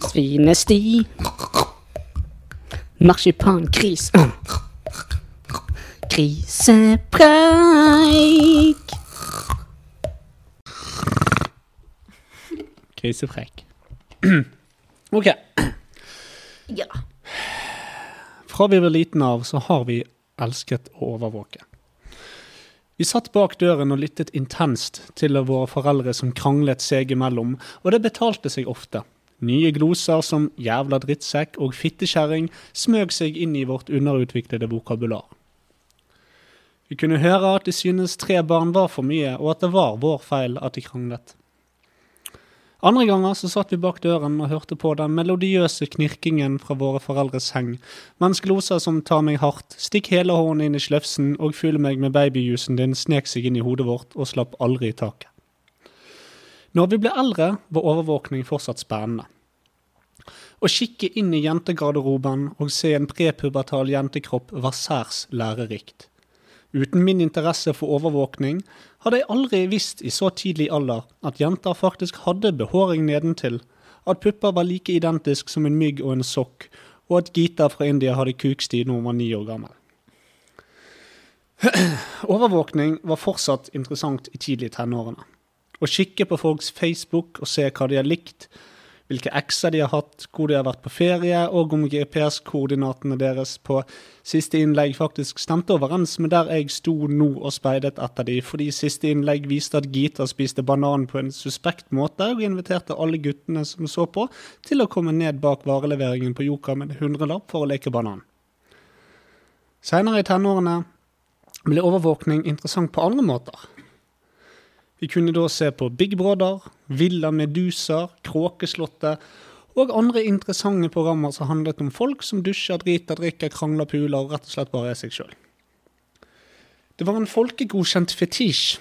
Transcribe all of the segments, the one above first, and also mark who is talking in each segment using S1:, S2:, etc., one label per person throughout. S1: Svinesti. Marsipangris. Grisepreik.
S2: Grisefrekk. OK.
S1: Ja.
S2: Fra vi var liten av, så har vi elsket å overvåke. Vi satt bak døren og lyttet intenst til våre foreldre som kranglet seg imellom, og det betalte seg ofte. Nye gloser som jævla drittsekk og fittekjerring smøg seg inn i vårt underutviklede vokabular. Vi kunne høre at de syntes tre barn var for mye, og at det var vår feil at de kranglet. Andre ganger så satt vi bak døren og hørte på den melodiøse knirkingen fra våre foreldres seng, mens gloser som tar meg hardt, stikk hele hånden inn i sløfsen og fyll meg med babyjusen din snek seg inn i hodet vårt og slapp aldri i taket. Når vi ble eldre, var overvåkning fortsatt spennende. Å kikke inn i jentegarderoben og se en prepubertal jentekropp var særs lærerikt. Uten min interesse for overvåkning hadde jeg aldri visst i så tidlig alder at jenter faktisk hadde behåring nedentil, at pupper var like identisk som en mygg og en sokk, og at Gita fra India hadde kuksti når hun var ni år gammel. Overvåkning var fortsatt interessant i tidlig tenårene. Å kikke på folks Facebook og se hva de har likt, hvilke ekser de har hatt, hvor de har vært på ferie, og om GPS-koordinatene deres på siste innlegg faktisk stemte overens med der jeg sto nå og speidet etter de, fordi siste innlegg viste at Gita spiste banan på en suspekt måte, og inviterte alle guttene som så på, til å komme ned bak vareleveringen på Joker med en hundrelapp for å leke banan. Seinere i tenårene ble overvåkning interessant på andre måter. Vi kunne da se på Big Brother, Villa Meduser, Kråkeslottet og andre interessante programmer som handlet om folk som dusjer, driter, drikker, krangler, puler og rett og slett bare er seg sjøl. Det var en folkegodkjent fetisj.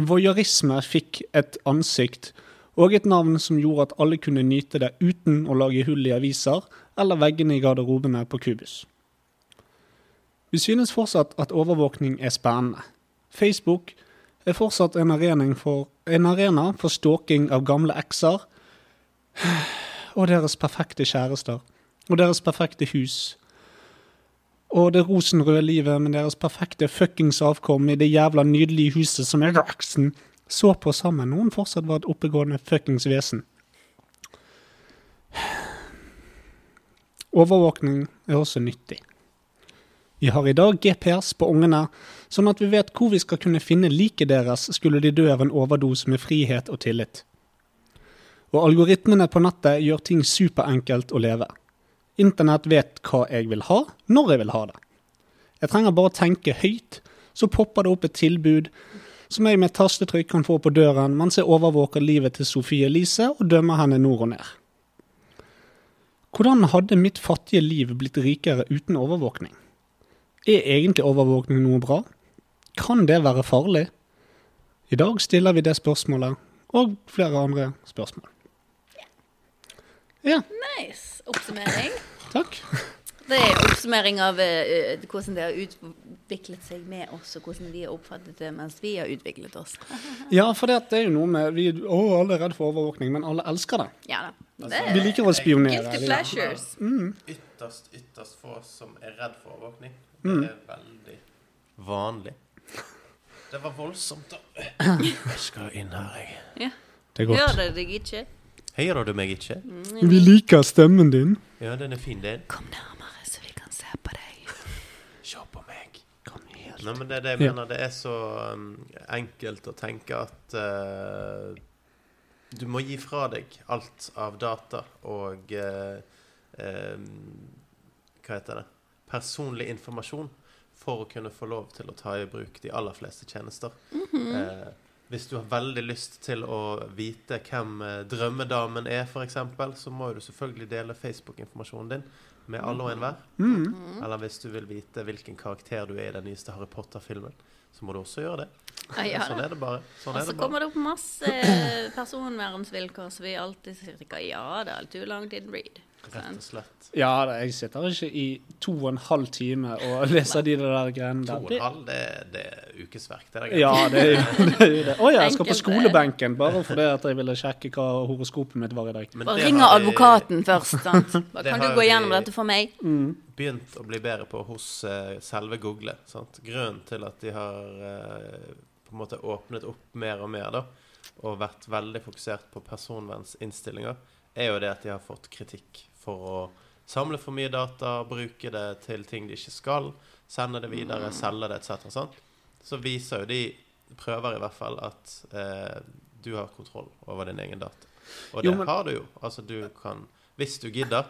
S2: Voyeurisme fikk et ansikt og et navn som gjorde at alle kunne nyte det uten å lage hull i aviser eller veggene i garderobene på Kubus. Vi synes fortsatt at overvåkning er spennende. Facebook er fortsatt en, arening for, en arena for stalking av gamle ekser og deres perfekte kjærester. Og deres perfekte hus. Og det rosenrøde livet med deres perfekte fuckings avkom i det jævla nydelige huset som er Raxen, så på sammen noen fortsatt var et oppegående fuckings vesen. Overvåkning er også nyttig. Vi har i dag GPS på ungene, sånn at vi vet hvor vi skal kunne finne liket deres skulle de dø av en overdose med frihet og tillit. Og algoritmene på nettet gjør ting superenkelt å leve. Internett vet hva jeg vil ha, når jeg vil ha det. Jeg trenger bare tenke høyt, så popper det opp et tilbud som jeg med et tastetrykk kan få på døren mens jeg overvåker livet til Sofie Elise og dømmer henne nord og ned. Hvordan hadde mitt fattige liv blitt rikere uten overvåkning? Er egentlig overvåkning noe bra? Kan det være farlig? I dag stiller vi det spørsmålet, og flere andre spørsmål. Ja,
S3: Nice. Oppsummering.
S2: takk.
S3: Det er oppsummering av eh, hvordan det har utviklet seg med oss, og hvordan vi har oppfattet det mens vi har utviklet oss.
S2: Ja, for det at det er jo noe med vi, Å, alle er redd for overvåkning, men alle elsker det.
S3: Ja da.
S4: Altså,
S3: Det
S2: Vi
S3: er
S2: liker å spionere.
S3: guilty
S2: eller-
S3: pleasures.
S4: Ytterst, ytterst få som er redd for overvåkning. Det er veldig vanlig. Det var voldsomt, da. Jeg skal inn her, jeg.
S3: Ja.
S2: Det er
S3: Gjør
S2: godt.
S3: det deg ikke?
S4: Hører du meg ikke?
S2: Vi liker stemmen din.
S4: Ja, den er fin, den.
S3: Kom nærmere, så vi kan se på deg.
S4: Se på meg. Nei, men det er det jeg
S2: Ja.
S4: mener. Det er så um, enkelt å tenke at eh, du må gi fra deg alt av data og eh, eh, Hva heter det? Personlig informasjon for å kunne få lov til å ta i bruk de aller fleste tjenester. Eh, hvis du har veldig lyst til å vite hvem eh, drømmedamen er, f.eks., så må du selvfølgelig dele Facebook-informasjonen din med alle og enhver.
S2: Mm.
S3: Mm.
S4: Eller hvis du vil vite hvilken karakter du er i den nyeste Harry Potter-filmen, så må du også gjøre det.
S3: Ja, ja.
S4: Sånn er det bare. Sånn
S3: Og
S4: er
S3: så
S4: det bare.
S3: kommer det opp masse personvernsvilkår, så vi alltid sier ja da, too long didn't read.
S4: rett og slett.
S2: Ja, da, jeg sitter ikke i to og en halv time og leser de der greiene
S4: To
S2: der.
S4: og
S2: Det,
S4: en halv, det, det er ukesverk. Det er greit.
S2: ja, det er jo det. er jo det. Å ja, jeg skal på
S3: Enkelt, eh.
S2: skolebenken bare fordi at jeg ville sjekke hva horoskopet mitt var i dag.
S4: Men
S3: Bare
S4: det
S3: ringer
S4: har vi
S3: advokaten først, sant. Bare,
S4: Det
S3: kan
S4: har
S3: du gå
S4: vi-
S3: gjennom dette for meg?
S2: Mm.
S4: Begynt å bli bedre på hos eh, selve Google. Sant? Grunnen til at de har eh, på en måte åpnet opp mer og mer da, og vært veldig fokusert på personverninnstillinger, er jo det at de har fått kritikk for å samle for mye data, bruke det til ting de ikke skal, sende det videre, selge det etc. Sant? Så viser jo de, prøver i hvert fall, at eh, du har kontroll over din egen data. Og det
S2: Jo, men-
S4: har du jo. Altså du kan, hvis du gidder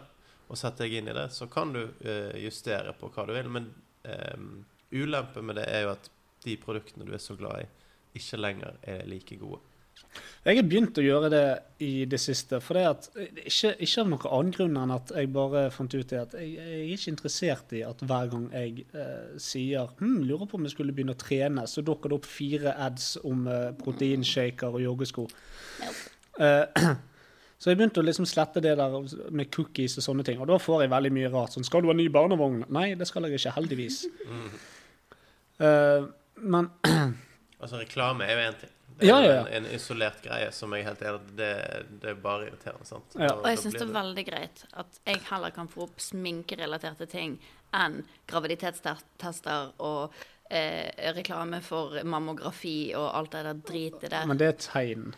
S4: å sette deg inn i det, så kan du eh, justere på hva du vil, men um, ulempen med det er jo at de produktene du er så glad i, ikke lenger er like gode.
S2: Jeg har begynt å gjøre det i det siste. For det at, eh, ikke, ikke av noen annen grunn enn at jeg bare fant ut det at jeg, jeg er ikke interessert i at hver gang jeg eh, sier hm, 'lurer på om jeg skulle begynne å trene', så dukker det opp fire ads om eh, proteinshaker og joggesko. Eh, så jeg begynte å liksom slette det der med cookies og sånne ting. Og da får jeg veldig mye rart. Sånn 'Skal du ha ny barnevogn?' Nei, det skal jeg ikke, heldigvis. Eh, men
S4: Altså, reklame er jo én ting. Det er
S2: Ja, ja, ja.
S4: En, en isolert greie som jeg er helt enig i. Det, det er bare irriterende, sant?
S2: Ja.
S4: Da-
S3: Og jeg
S4: da
S3: syns det
S4: blir
S3: er veldig greit at jeg heller kan få opp sminkerelaterte ting enn graviditetstester og eh, reklame for mammografi og alt det der dritet der.
S2: men det er tegn.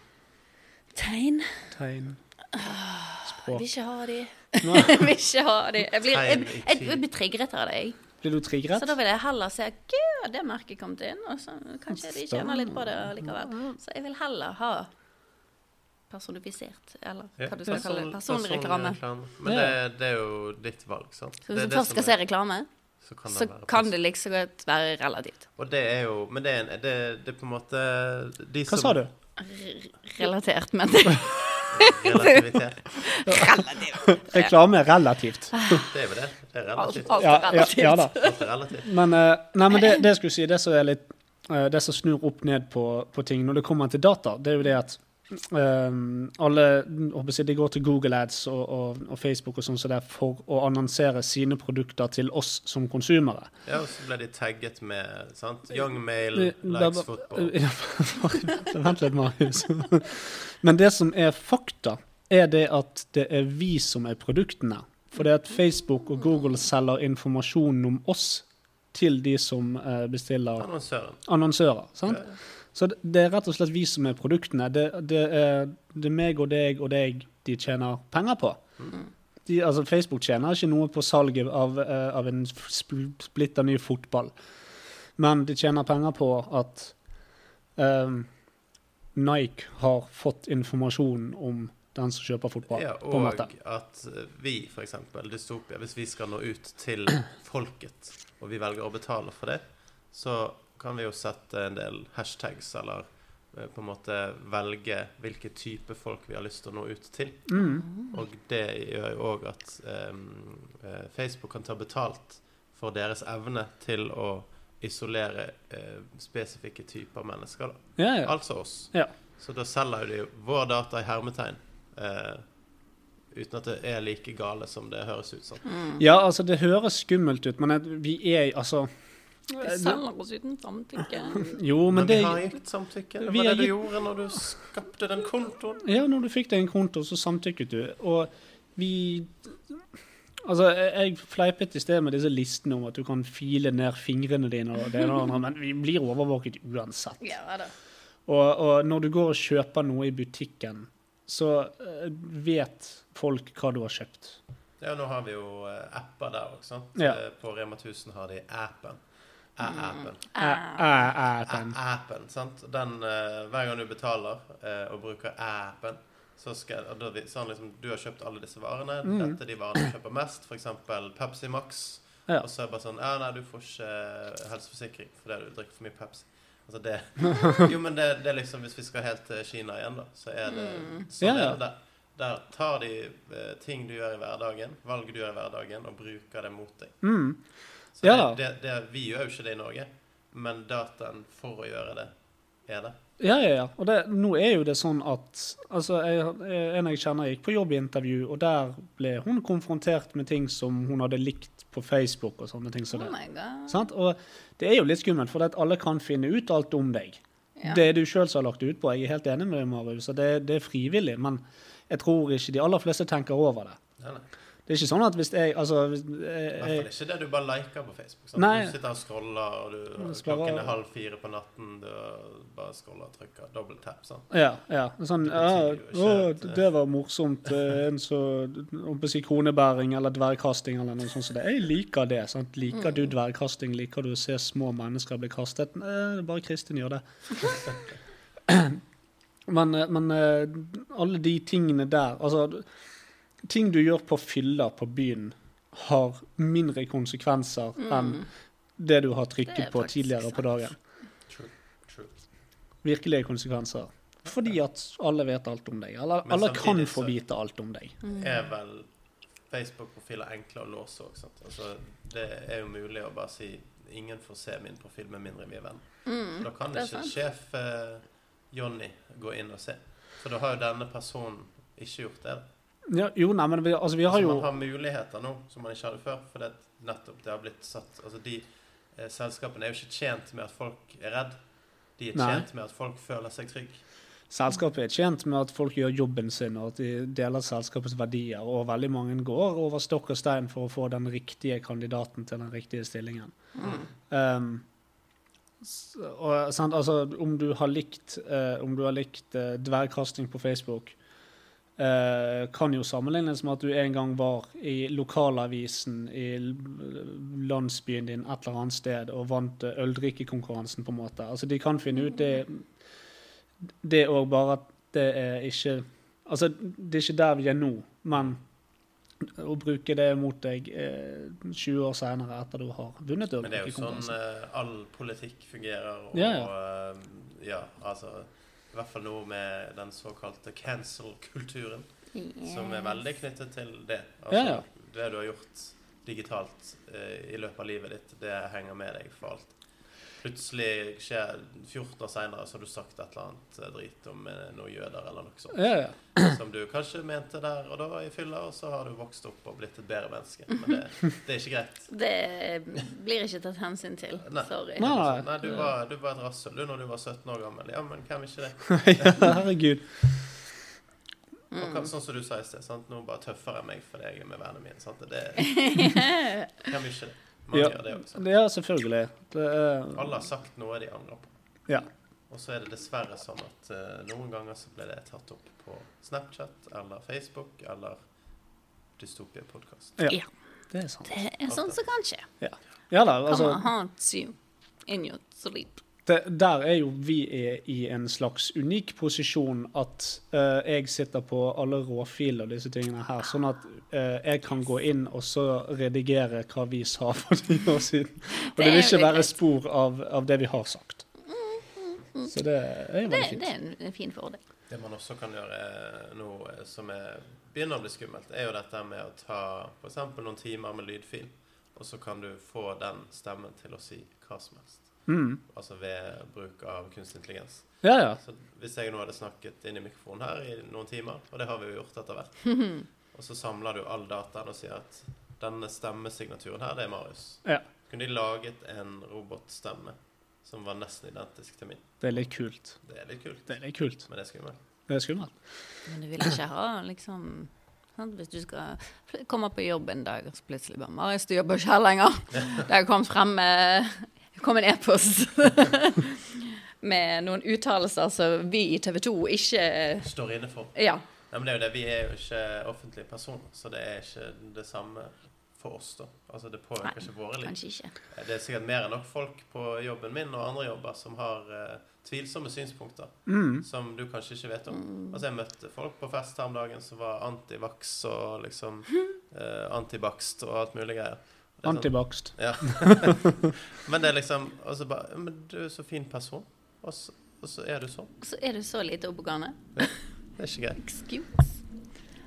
S3: Tegn?
S2: Tegn.
S3: Jeg Ah,
S2: Språk.
S3: vil ikke ha de. Jeg vil ikke ha de. Jeg blir, jeg,
S4: Tegn i
S3: jeg,
S4: tid.
S3: jeg blir triggeret av det, jeg.
S2: Blir du triggeret?
S3: Så da vil jeg heller se Gud, det merket kom til inn, og så kanskje de tjener litt på det likevel. Så jeg vil heller ha personifisert, eller
S4: Ja,
S3: hva du skal
S4: person-
S3: kalle det. Personlig reklame.
S4: Men
S2: Ja.
S4: det, det er jo ditt valg, sant?
S3: Så
S4: Det
S3: hvis
S4: er
S3: du
S4: det
S3: først
S4: som
S3: skal
S4: er-
S3: se reklame,
S4: så kan
S3: så
S4: det være
S3: kan det liksom godt være relativt.
S4: Og det er jo Men det er, en, det, det er på en måte de
S2: Hva sa du?
S3: R- Relatert, men det er
S4: Relativitet.
S3: relativt.
S2: Reklame er relativt.
S4: Det er jo det. Det er
S3: Alt,
S4: relativt.
S3: alt
S2: Ja,
S3: er
S2: ja,
S3: relativt.
S2: ja da.
S4: Alt er relativt.
S2: Men, eh, nei, men det, det jeg skulle si, det som er litt eh, Det som snur opp ned på, på ting når det kommer til data, det er jo det at eh, alle håper jeg, de går til Google Ads og, og, og Facebook og sånn som det er for å annonsere sine produkter til oss som konsumere.
S4: Ja, og så ble de tagget med sant? Young male
S2: Eh, da-
S4: likes football.
S2: Bare- Vent litt, Marius. Men det som er fakta, er det at det er vi som er produktene. For det at Facebook og Google selger informasjon om oss til de som eh, bestiller
S4: Annonsøren.
S2: annonsører. sant?
S4: Ja, ja.
S2: Så det- det er rett og slett vi som er produktene. Det, det, er, det er meg og deg og deg de tjener penger på. De, altså Facebook tjener ikke noe på salget av, eh, av en f- spl- splitter ny fotball. Men de tjener penger på at eh, Nike har fått informasjon om den som kjøper fotball.
S4: Ja,
S2: på en
S4: og
S2: måte.
S4: at vi, for eksempel, Dystopia, hvis vi skal nå ut til folket, og vi velger å betale for det, så kan vi jo sette en del hashtags, eller eh, på en måte velge hvilke type folk vi har lyst til å nå ut til.
S2: Mm.
S4: Og det gjør jo òg at eh, eh, Facebook kan ta betalt for deres evne til å isolere eh, spesifikke typer mennesker. Da.
S2: Ja, ja.
S4: Altså oss.
S2: Ja.
S4: Så da selger de jo vår data i hermetegn. eh, uten at det er like gale som det høres ut som.
S3: Mm.
S2: ja, altså det høres skummelt ut, men at vi er altså
S3: Vi selger oss uten samtykke.
S2: Jo, men,
S4: Men,
S2: det
S4: vi har gitt samtykke. Det
S2: Vi
S4: var
S2: har
S4: det du
S2: gitt-
S4: gjorde når du skapte den kontoen.
S2: Ja, når du fikk deg en konto, så samtykket du. Og vi Altså, jeg jeg fleipet i sted med disse listene om at du kan file ned fingrene dine og det ene og det andre, men vi blir overvåket uansett.
S3: Ja da.
S2: Og, og når du går og kjøper noe i butikken, så eh, vet folk hva du har kjøpt.
S4: Ja, nå har vi jo eh, apper der òg, sant.
S2: Ja. Mm.
S4: Eh, På Rema 1000 har de appen. Æ-appen.
S3: Ah.
S2: Æ, æ, æ, den.
S4: appen, sant? Den, eh, hver gang du betaler eh, og bruker appen, så skal og da, vi- sånn liksom, Du har kjøpt alle disse varene.
S2: Mm.
S4: Dette er de varene du kjøper mest. For eksempel Pepsi Max.
S2: Ja.
S4: Og så er det bare sånn Ja, nei, du får ikke eh, helseforsikring fordi du drikker for mye Pepsi. Altså det Jo, men det, det er liksom Hvis vi skal helt til Kina igjen, da, så er det sånn
S2: Ja, ja.
S4: er det der. Der tar de eh, ting du gjør i hverdagen, valg du gjør i hverdagen, og bruker det mot deg.
S2: Mm.
S4: Så
S2: Ja da.
S4: det, det, det, vi gjør jo ikke det i Norge, men dataen for å gjøre det Er det?
S2: Ja, ja, ja. Og det, nå er jo det sånn at altså, jeg, En jeg kjenner gikk på jobbintervju, og der ble hun konfrontert med ting som hun hadde likt på Facebook. og sånne ting som
S3: Oh
S2: det.
S3: my god.
S2: Sant? Og det er jo litt skummelt, for det at alle kan finne ut alt om deg.
S3: Ja.
S2: Det er du sjøl som har lagt det ut på. Jeg er helt enig med deg, Marius. og Det, det er frivillig. Men jeg tror ikke de aller fleste tenker over det.
S4: Nei, nei.
S2: Det er ikke sånn at hvis jeg altså, hvis jeg,
S4: I hvert
S2: jeg,
S4: fall ikke det du bare liker på Facebook. Sant?
S2: Nei.
S4: Du sitter og scroller, og du,
S2: Du scroller.
S4: klokken er halv fire på natten, du bare scroller og trykker double tap. Sant?
S2: Ja. ja. Sånn,
S4: Det
S2: ja
S4: betyr jo
S2: å,
S4: ikke at-
S2: det var morsomt. eh, En så Om på å si kronebæring eller dvergkasting eller noe sånt som det. Jeg liker det. sant? Liker du dvergkasting? Liker du å se små mennesker bli kastet? Nei, det er bare Kristin gjør det. Men, eh, men eh, alle de tingene der Altså, ting du gjør på fylla på byen, har mindre konsekvenser enn
S3: Mm.
S2: det du har
S3: Det
S2: trykket
S3: er
S2: på
S3: faktisk
S2: tidligere på
S3: sant.
S2: dagen
S4: True. True.
S2: virkelige konsekvenser. Fordi at alle vet alt om deg. Alle,
S4: Men
S2: alle
S4: samtidig
S2: kan
S4: så-
S2: få vite alt om deg.
S3: Mm.
S4: Er vel Facebook-profiler enkle å låse òg, sant. Altså, det er jo mulig å bare si ingen får se min profil med mindre vi er venner.
S3: Mm.
S4: Da kan
S3: det er
S4: ikke
S3: sant.
S4: sjef eh, Johnny gå inn og se. For da har jo denne personen ikke gjort det.
S2: Ja, jo, nei, men vi, altså, vi har
S4: altså,
S2: jo
S4: man har muligheter nå som man ikke hadde før. For det, at nettopp det har blitt satt Altså, de eh, selskapene er jo ikke tjent med at folk er redd. De er
S2: Nei.
S4: tjent med at folk føler seg trygg.
S2: Selskapet er tjent med at folk gjør jobben sin, og at de deler selskapets verdier. Og veldig mange går over stokk og stein for å få den riktige kandidaten til den riktige stillingen.
S3: Mm.
S2: Ehm, s- og, sant? Altså, om du har likt, eh, om du har likt eh, dvergkasting på Facebook, eh, kan jo sammenlignes med at du en gang var i lokalavisen i l- landsbyen din et eller annet sted og vant eh, øldrikkekonkurransen, på en måte. Altså, de kan finne ut det det òg, bare at det er ikke Altså, det er ikke der vi er nå, men å bruke det mot deg eh, 20 år senere etter du har vunnet
S4: Men det er jo sånn
S2: øldrikkekonkurransen.
S4: eh, all politikk fungerer, og
S2: Ja,
S4: ja, ja altså I hvert fall nå med den såkalte cancel-kulturen,
S3: Mm.
S4: som er veldig knyttet til det. Altså,
S2: Ja, ja.
S4: Det du har gjort digitalt eh, i løpet av livet ditt, det henger med deg for alt. Plutselig skjer 14 år seinere, så har du sagt et eller annet eh, drit om eh, noen jøder eller noe sånt.
S2: Ja, ja.
S4: Som du kanskje mente der og da i fylla, og så har du vokst opp og blitt et bedre menneske. Men det, det er ikke greit.
S3: Det blir ikke tatt hensyn til.
S4: Nei.
S3: Sorry.
S2: Nei.
S4: Nei, du, var, du var et rasshøl du når du var 17 år gammel. Ja, men hvem er ikke det?
S2: ja, herregud.
S4: Og
S3: Mm.
S4: hva, sånn som du sa i sted, sant? nå bare tøffere enn meg fordi jeg er med vennene mine. Sant? Det, hvem er ikke det? Man
S2: Ja.
S4: gjør det også.
S2: Ja, selvfølgelig. Det er,
S4: Alle har sagt noe de angrer på.
S2: Ja.
S4: Og så er det dessverre sånn at eh, noen ganger så blir det tatt opp på Snapchat eller Facebook eller Dystopia podcast.
S2: Ja.
S3: Ja.
S2: det er sant.
S3: Det er sånn som kan skje.
S2: Ja da,
S3: Come
S2: altså
S3: on, haunts you in your sleep.
S2: det, Der er jo vi er i en slags unik posisjon at eh, jeg sitter på alle råfiler og disse tingene her, sånn at eh, jeg kan gå inn og så redigere hva vi sa for ti år siden. Og det
S3: Det er
S2: vil
S3: jo
S2: ikke være
S3: greit.
S2: spor av, av det vi har sagt. Så det er jo
S3: Det,
S2: veldig
S3: det
S2: fint.
S3: er en- en fin fordel.
S4: Det man også kan gjøre eh, nå eh, som er, begynner å bli skummelt, er jo dette med å ta for eksempel noen timer med lydfil, og så kan du få den stemmen til å si hva som helst.
S2: Mm.
S4: Altså ved bruk av kunstig intelligens.
S2: Ja, ja.
S4: Så Altså, hvis jeg nå hadde snakket inn i mikrofonen her i noen timer, og det har vi jo gjort etter hvert, og så samler du all dataen og sier at denne stemmesignaturen her, det er Marius.
S2: Ja.
S4: Kunne de laget en robotstemme som var nesten identisk til min?
S2: Det er litt kult.
S4: Det er litt kult,
S2: Det er litt kult.
S4: men det er skummelt.
S2: Det er skummelt.
S3: Men du vil ikke ha liksom sant? Hvis du skal komme på jobb en dag, og så plutselig bare 'Marius, du jobber ikke her lenger.' Det har kommet frem eh, kom en e-post med noen uttalelser som vi i TV 2 ikke
S4: Står inne for
S3: Ja.
S4: Nei, men det er jo det. Vi er jo ikke offentlige personer, så det er ikke det samme for oss, da. Altså, det påvirker
S3: Nei,
S4: ikke våre liv.
S3: Kanskje ikke.
S4: Det er sikkert mer enn nok folk på jobben min og andre jobber som har eh, tvilsomme synspunkter,
S2: Mm.
S4: som du kanskje ikke vet om.
S3: Mm.
S4: Altså, jeg møtte folk på fest her om dagen som var antivax og liksom
S3: Hmm.
S4: eh, antibakst og alt mulig greier. Det er sånn-
S2: Antibakst.
S4: ja. men det er liksom altså, bare, ja, Men du er så fin person, og så, og så er du sånn.
S3: Og så er du så lite oppegående.
S4: Det er ikke greit.
S3: Excuse.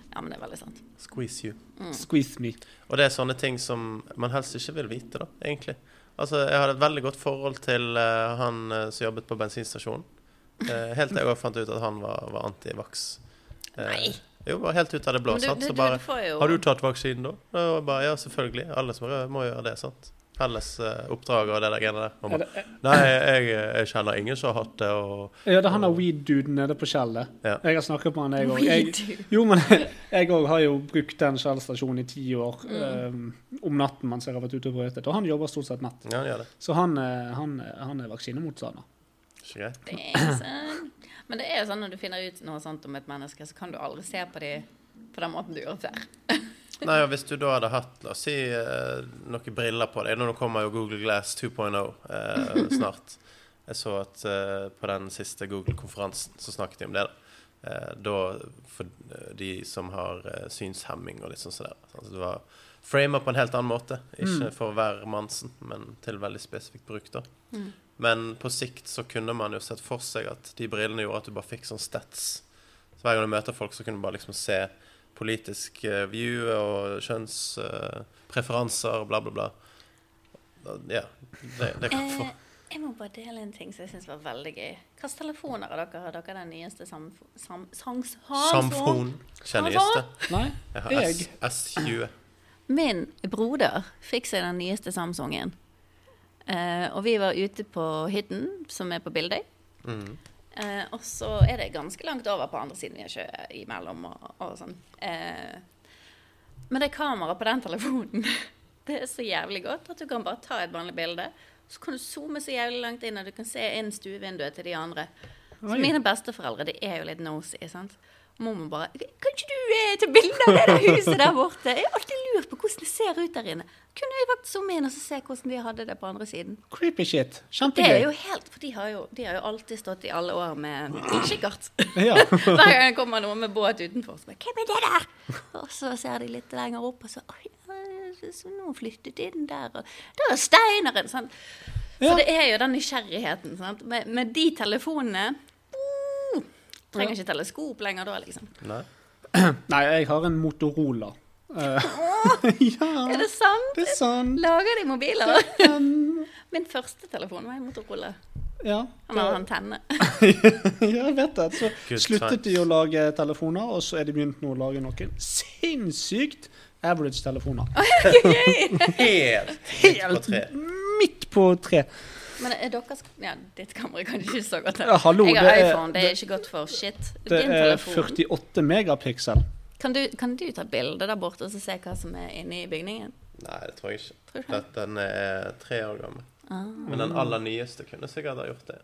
S3: Ja, men det er veldig sant.
S4: Squeeze you.
S2: Squeeze me.
S4: Og det er sånne ting som man helst ikke vil vite, da, egentlig. Altså, jeg hadde et veldig godt forhold til eh, han eh, som jobbet på bensinstasjonen. Eh, helt til jeg også fant ut at han var, var antivaks. Eh,
S3: Nei.
S4: Jo, bare helt ut av det blå.
S3: Men du-
S4: sant?
S3: du-
S4: Så
S3: du-
S4: bare
S3: du får jo-
S4: Har du tatt vaksinen, da? Og jeg bare, ja, selvfølgelig. Alle som rører, må gjøre det. sant? Felles eh, oppdrag og det der greiene der. Og
S2: Er
S4: Bare,
S2: det,
S4: Nei, jeg, jeg kjenner ingen som har hatt det. og...
S2: ja, det er han der weed-duden nede på skjellet.
S4: Ja.
S2: Jeg har snakket med han, jeg òg. Jeg,
S3: Weed.
S2: jo, men jeg òg har jo brukt den skjellstasjonen i ti år
S3: Mm.
S2: eh, om natten mens jeg har vært ute og brøytet. Og han jobber stort sett natt.
S4: Ja, han gjør det.
S2: Så han, eh, han, han er vaksinemotstander.
S4: Ikke greit.
S3: Det er sånn. Men det er jo sånn når du finner ut noe sånt om et menneske, så kan du aldri se på dem på den måten du gjorde før.
S4: Nei, og Hvis du da hadde hatt la oss si, eh, noen briller på deg Nå kommer jo Google Glass 2.0 eh, snart. Jeg så at eh, på den siste Google-konferansen så snakket de om det. Da, eh, da for de som har eh, synshemming og litt sånn sånn der. Altså, det var frama på en helt annen måte. Ikke for hver mannsen, men til veldig spesifikt bruk. da.
S3: Mm.
S4: Men på sikt så kunne man jo sett for seg at de brillene gjorde at du bare fikk sånn stats. Så hver gang du møter folk, så kunne du bare liksom se politisk eh, view og kjønnspreferanser og bla, bla, bla. Da- Ja, det, det kan få
S3: Eh, jeg må bare dele en ting som jeg syns var veldig gøy. Hvilke telefoner har dere? Har dere den nyeste samf sam sangs
S4: Samfon.
S3: sånn-
S4: Kjenner jeg det?
S2: Nei,
S4: Jeg har S,
S2: jeg
S4: S20.
S3: Min broder fikk seg den nyeste Samsungen. Eh, og vi var ute på hytten, som er på Bildøy.
S4: Mhm.
S3: Eh, og så er det ganske langt over på andre siden vi har sjø imellom og, og sånn. Eh, men det kameraet på den telefonen, det er så jævlig godt at du kan bare ta et vanlig bilde. Så kan du zoome så jævlig langt inn, og du kan se inn stuevinduet til de andre. Så
S2: Oi.
S3: mine besteforeldre de er jo litt nosy, sant. Mormor bare 'Kan ikke du eh, ta bilde av det der huset der borte?' Jeg har alltid lurt på hvordan det ser ut der inne. Kunne jeg faktisk zoome inn og så se hvordan de hadde det på andre siden?
S2: creepy shit.
S3: Det er
S2: Kjempegøy.
S3: jo helt, for de har jo, de har jo alltid stått i alle år med kikkert.
S2: Ja.
S3: Hver gang det kommer noen med båt utenfor, så bare 'Hvem er det der?' Og så ser de litt lenger opp, og så Oi, eh, så noen flyttet inn der, og Der er steineren! Sant? Så
S2: Ja.
S3: det er jo den nysgjerrigheten. Sant? Med, med de telefonene uh, Trenger ikke teleskop lenger da, liksom.
S4: Nei.
S2: Nei, jeg har en Motorola. Eh, ja,
S3: Er det sant?
S2: det er sånn.
S3: Lager de mobiler? Min første telefon var en Motorola.
S2: Ja.
S3: Han har antenne.
S2: Ja, jeg vet det. Så
S4: Good
S2: sluttet de
S4: times.
S2: å lage telefoner, og så er de begynt nå å lage noen sinnssykt average-telefoner.
S4: Helt, på
S2: Helt
S4: tre.
S2: midt på tre.
S3: Men er deres Ja, ditt kamera kan ikke så godt.
S2: Ja, hallo,
S3: jeg har
S2: det er-
S3: iPhone, det er ikke godt for shit.
S2: Det
S3: Din
S2: er
S3: telefon.
S2: 48 megapiksel.
S3: Kan, du, kan du ta bilde der borte og så se hva som er inne i bygningen?
S4: Nei, det tror jeg ikke.
S3: Tror du det? Ah,
S4: Dette- Den er tre år gammel. Men
S3: Mm.
S4: den aller nyeste kunne sikkert ha gjort det.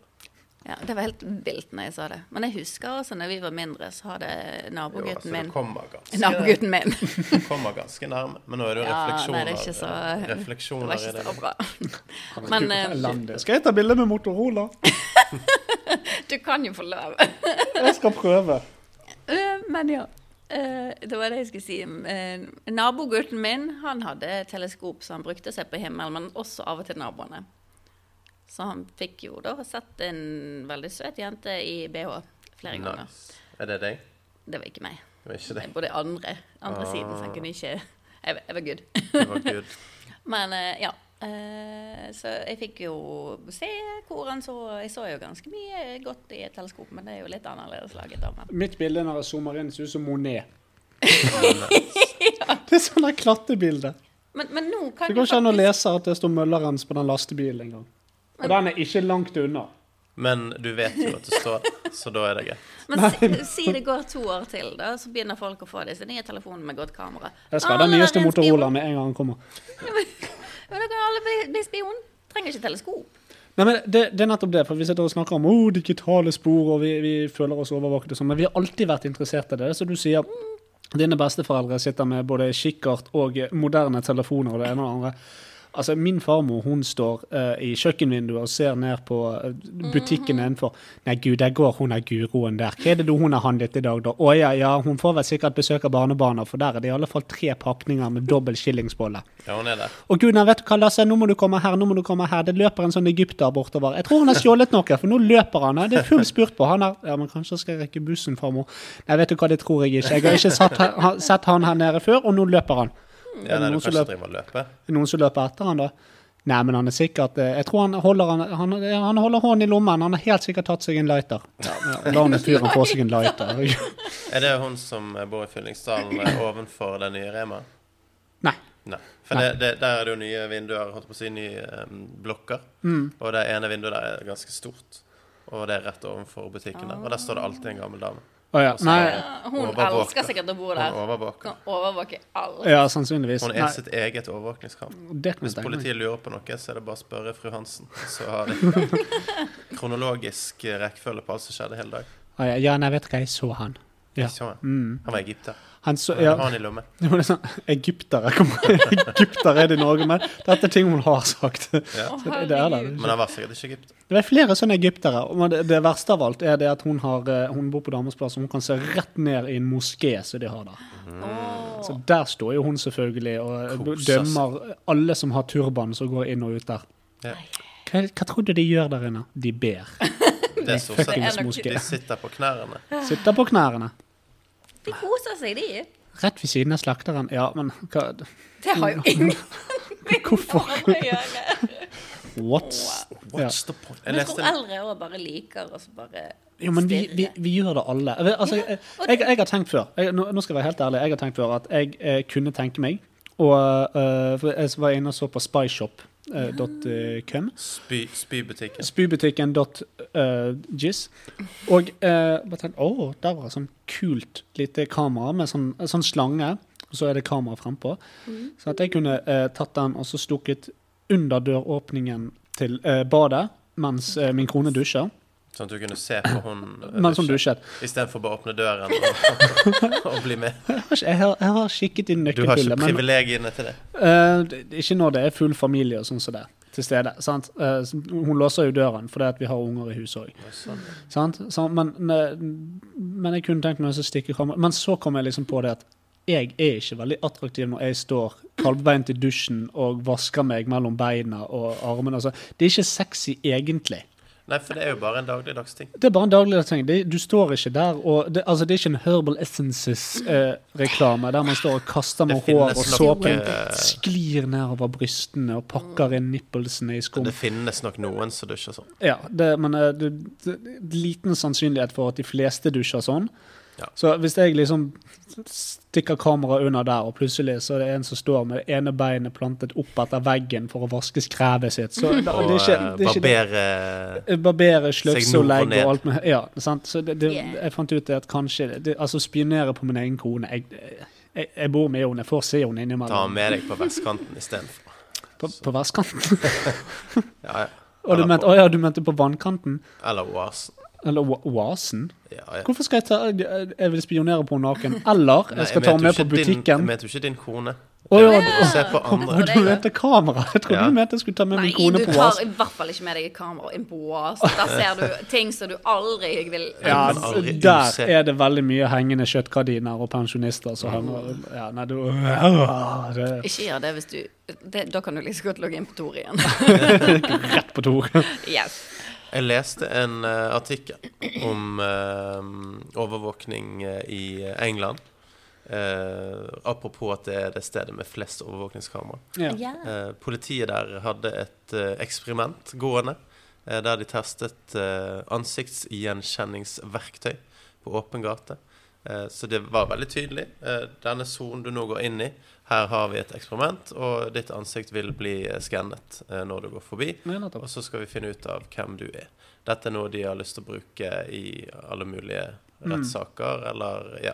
S3: Ja, det var helt vilt når jeg så det. Men jeg husker også når vi var mindre, så hadde
S4: Jo, altså,
S3: nabogutten
S4: det
S3: min
S4: kommer ganske,
S3: Nabogutten min.
S4: det kommer ganske nærme. Men nå er det jo
S3: Ja,
S4: refleksjoner,
S3: nei, det er ikke så
S4: eh,
S3: Det
S4: refleksjoner
S3: var ikke så
S4: i det.
S3: bra. Men eh,
S2: Landet. Skal jeg ta bilde med Motorola?
S3: du kan jo få lov.
S2: Jeg skal prøve.
S3: Eh, Men ja. Eh, det var det jeg skulle si. Eh, nabogutten min han hadde teleskop, så han brukte seg på himmelen, men også av og til naboene. Så han fikk jo da sett en veldig søt jente i BH flere ganger.
S4: Nice. Er det deg?
S3: Det var ikke meg.
S4: Det var ikke
S3: Jeg
S4: deg.
S3: bodde andre, andre
S4: Ah.
S3: siden, så han kunne ikke Jeg, var- jeg var good.
S4: Det var good.
S3: Men eh, ja. Eh, så jeg fikk jo se hvor han så Jeg så jo ganske mye godt i et teleskop, men det er jo litt annerledes laget. da, men-
S2: Mitt bilde når jeg zoomer inn, ser ut som Monet. Det er sånn der klattebilde.
S3: Men, men nå kan
S2: Det
S3: du
S2: går ikke an å
S3: faktisk-
S2: lese at det står Møllerens på den lastebilen engang. Og den er ikke langt unna.
S4: Men du vet jo at du står der, så da er det greit.
S3: Men si, si det går to år til, da, så begynner folk å få disse nye telefonene med godt kamera.
S2: Jeg skal
S3: Ah,
S2: ha den
S3: men
S2: nyeste
S3: er en spion.
S2: Motorola med en gang den kommer.
S3: Men da kan alle bli, bli spion. Trenger ikke teleskop.
S2: Nei, men det, det er nettopp det, for vi sitter og snakker om oh, digitale spor, og vi, vi føler oss overvåket og sånn, men vi har alltid vært interessert i det. Så du sier «Mm, dine besteforeldre sitter med både kikkert og moderne telefoner og det ene og det andre. Altså, Min farmor hun står eh, i kjøkkenvinduet og ser ned på eh, butikken innenfor. 'Nei, gud, der går hun der guroen der. Hva er det da hun har handlet i dag, da?' 'Å ja, ja, hun får vel sikkert besøk av barnebarna, for der er det i alle fall tre pakninger med dobbel skillingsbolle.'
S4: Ja, hun er der.
S2: Og gud, nei, vet du hva, Lasse, nå må du komme her, nå må du komme her. Det løper en sånn egypter bortover. Jeg tror han har stjålet noe, for nå løper han. Nei, Det er full spurt på han her. Ja, men kanskje skal jeg rekke bussen, farmor. Nei, vet du hva, det tror jeg ikke. Jeg har ikke satt, ha- ha, sett han her nede før, og nå løper han.
S4: Ja, nei,
S2: noen
S4: du
S2: som
S4: kan ikke
S2: løper-
S4: drive og løpe.
S2: Er det noen som løper etter han da? Nei, men han er sikkert eh, Jeg tror han holder, han, han, han holder hånden i lommen. Han har helt sikkert tatt seg en lighter. La han fyren få seg en lighter.
S4: Er det hun som eh, bor i Fyllingsdalen eh, ovenfor den nye Rema?
S2: Nei.
S4: Nei. For Det, det, der er det jo nye vinduer, holdt på å si nye eh, blokker.
S2: Mm.
S4: Og det ene vinduet der er ganske stort. Og det er rett ovenfor butikken der. Og der står det alltid en gammel dame.
S2: Å ja.
S4: Og så
S2: Nei.
S4: er det
S3: Hun
S4: overvåker.
S3: elsker sikkert å bo der.
S4: Hun overvåker.
S3: Kan overvåke alle.
S2: Ja, sannsynligvis.
S4: Hun er
S2: Nei,
S4: sitt eget overvåkningskamp.
S2: det kan
S4: Sånn Hvis
S2: jeg tenke meg.
S4: politiet lurer på noe, så er det bare å spørre fru Hansen. Så har de kronologisk rekkefølge på alt som skjedde hele dag.
S2: Å Ja, ja, nei, vet du hva, jeg så han. Ja.
S4: Så han.
S2: Mm.
S4: han var egypter.
S2: Han så
S4: Han
S2: ja.
S4: har han i lommen.
S2: Det var litt sånn, Egyptere kommer Egyptere er det i Norge, men dette er ting hun har sagt.
S4: Ja.
S3: Å,
S2: Så det- det er der,
S3: herregud.
S4: Men han var sikkert ikke egypter.
S2: Det er flere sånne egyptere. Men det, det verste av alt er det at hun, har, eh, hun bor på Damesplass, og hun kan se rett ned i en moské som de har der.
S3: Å.
S2: Så der står jo hun selvfølgelig og
S4: Koser seg.
S2: dømmer alle som har turban som går inn og ut der.
S4: Ja.
S2: Hva, hva tror du de gjør der inne? De ber.
S4: Det er
S3: Det
S4: stort sett
S3: er
S2: Fuckings
S3: nok-
S2: moské.
S4: De sitter på knærne.
S2: Sitter på knærne.
S3: De koser seg, de.
S2: Rett ved siden av slakteren. Ja, men hva
S3: Det har jo ingen
S2: Hvorfor?
S3: andre å gjøre.
S2: What's ja.
S4: What's the point? Jeg
S3: Men jeg tror
S4: leste en,
S3: eldre òg bare liker å bare
S2: Jo, men vi, vi,
S3: stirre.
S2: vi gjør det alle. Altså, jeg,
S3: og-
S2: jeg, jeg har tenkt før, jeg, nå nå skal jeg være helt ærlig, jeg har tenkt før at jeg eh, kunne tenke meg og, eh, for Jeg var inne og så på eh, spyshop.com.
S4: spy, spybutikken.
S2: Spybutikken.jizz. eh, Og eh, bare tenkte Å, der var det sånn kult lite kamera med sånn, sånn slange. Og så er det kamera frempå.
S3: Mm.
S2: Så at jeg kunne eh, tatt den og så stukket under døråpningen til eh, badet mens eh, min kone dusjer.
S4: Sånn at du kunne se på hun eh,
S2: Mens hun
S4: dusje.
S2: dusjet.
S4: Istedenfor bare å åpne døren og, og bli med.
S2: Jeg har, ikke- jeg har, jeg har kikket inn
S4: Du har ikke
S2: nøkkelhullet. Men,
S4: privilegiene til det.
S2: eh, det- ikke når det er full familie og sånn som det til stede. Sant? Eh, så hun låser jo døren fordi at vi har unger i huset òg.
S4: Sånn.
S2: Sant? Så, men, men jeg kunne tenkt meg å stikke kamera. Men så kom jeg liksom på det at jeg er ikke veldig attraktiv når jeg står halvveien til dusjen og vasker meg mellom beina og armene. Altså, det er ikke sexy egentlig.
S4: Nei, for det er jo bare en dagligdags ting.
S2: Det er bare en daglig ting. Det, du står ikke der og det, altså, det er ikke en Herbal Essences-reklame der man står og kaster
S4: Det
S2: med hår og
S4: finnes nok,
S2: såpen
S4: eh,
S2: sklir nedover brystene og pakker inn nipplesene i skum.
S4: det finnes nok noen som dusjer sånn.
S2: Ja, det, men eh, det, det, det er liten sannsynlighet for at de fleste dusjer sånn.
S4: Ja.
S2: Så hvis jeg liksom stikker kameraet under der, og plutselig så er det en som står med det ene beinet plantet opp etter veggen for å vaske skrevet sitt, så da,
S4: Og
S2: det er ikke, det
S4: eh,
S2: er ikke det.
S4: barbere
S2: Barbere, sløfse og
S4: nord og
S2: legge
S4: ned.
S2: og alt med Ja, sant. Så det, det,
S3: Yeah.
S2: jeg fant ut det at kanskje det, Altså, spionere på min egen kone Jeg, jeg, jeg bor med henne, jeg får se henne
S4: Ta han
S2: innimellom.
S4: med deg på vestkanten istedenfor.
S2: På, på værkanten.
S4: Ja, ja.
S2: Og du
S4: Eller
S2: mente,
S4: på-
S2: å ja, du mente på vannkanten?
S4: Eller oasen.
S2: Eller oa- oasen?
S4: Ja, ja.
S2: Hvorfor skal jeg ta Jeg vil spionere på henne naken. Eller
S4: Nei,
S2: jeg skal ta henne med
S4: mente
S2: på
S4: jo ikke Din, jeg
S2: butikken.
S4: mente jo ikke din kone.
S2: Å, ja,
S4: Jeg mente å Se på andre.
S2: Og du mente kamera. Jeg trodde
S4: Ja.
S2: du mente jeg skulle ta med
S3: Nei,
S2: min
S3: du
S2: kone på
S3: tar
S2: oasen.
S3: i hvert fall ikke med deg et kamera inn på oas. Der ser du ting som du aldri vil
S2: Ja,
S4: Jeg kan aldri
S2: der
S4: unnse-
S2: er det veldig mye hengende kjøttgardiner og pensjonister som henger ja, nei, du, øh, det er
S3: Ikke gjør det hvis du det, Da kan du like så godt logge inn på Tor igjen.
S2: Rett på Tore.
S3: yes.
S4: Jeg leste en eh, artikkel om eh, overvåkning eh, i England. Eh, apropos at det er det stedet med flest overvåkningskamera.
S2: Ja.
S4: Eh, politiet der hadde et eh, eksperiment gående eh, der de testet eh, ansiktsgjenkjenningsverktøy på åpen gate. Eh, så det var veldig tydelig. Eh, denne sonen du nå går inn i, her har vi et eksperiment, og ditt ansikt vil bli eh, skannet eh, når du går forbi.
S2: Nei, nettopp.
S4: Og så skal vi finne ut av hvem du er. Dette er noe de har lyst til å bruke i alle mulige
S2: Mm.
S4: rettssaker, eller ja,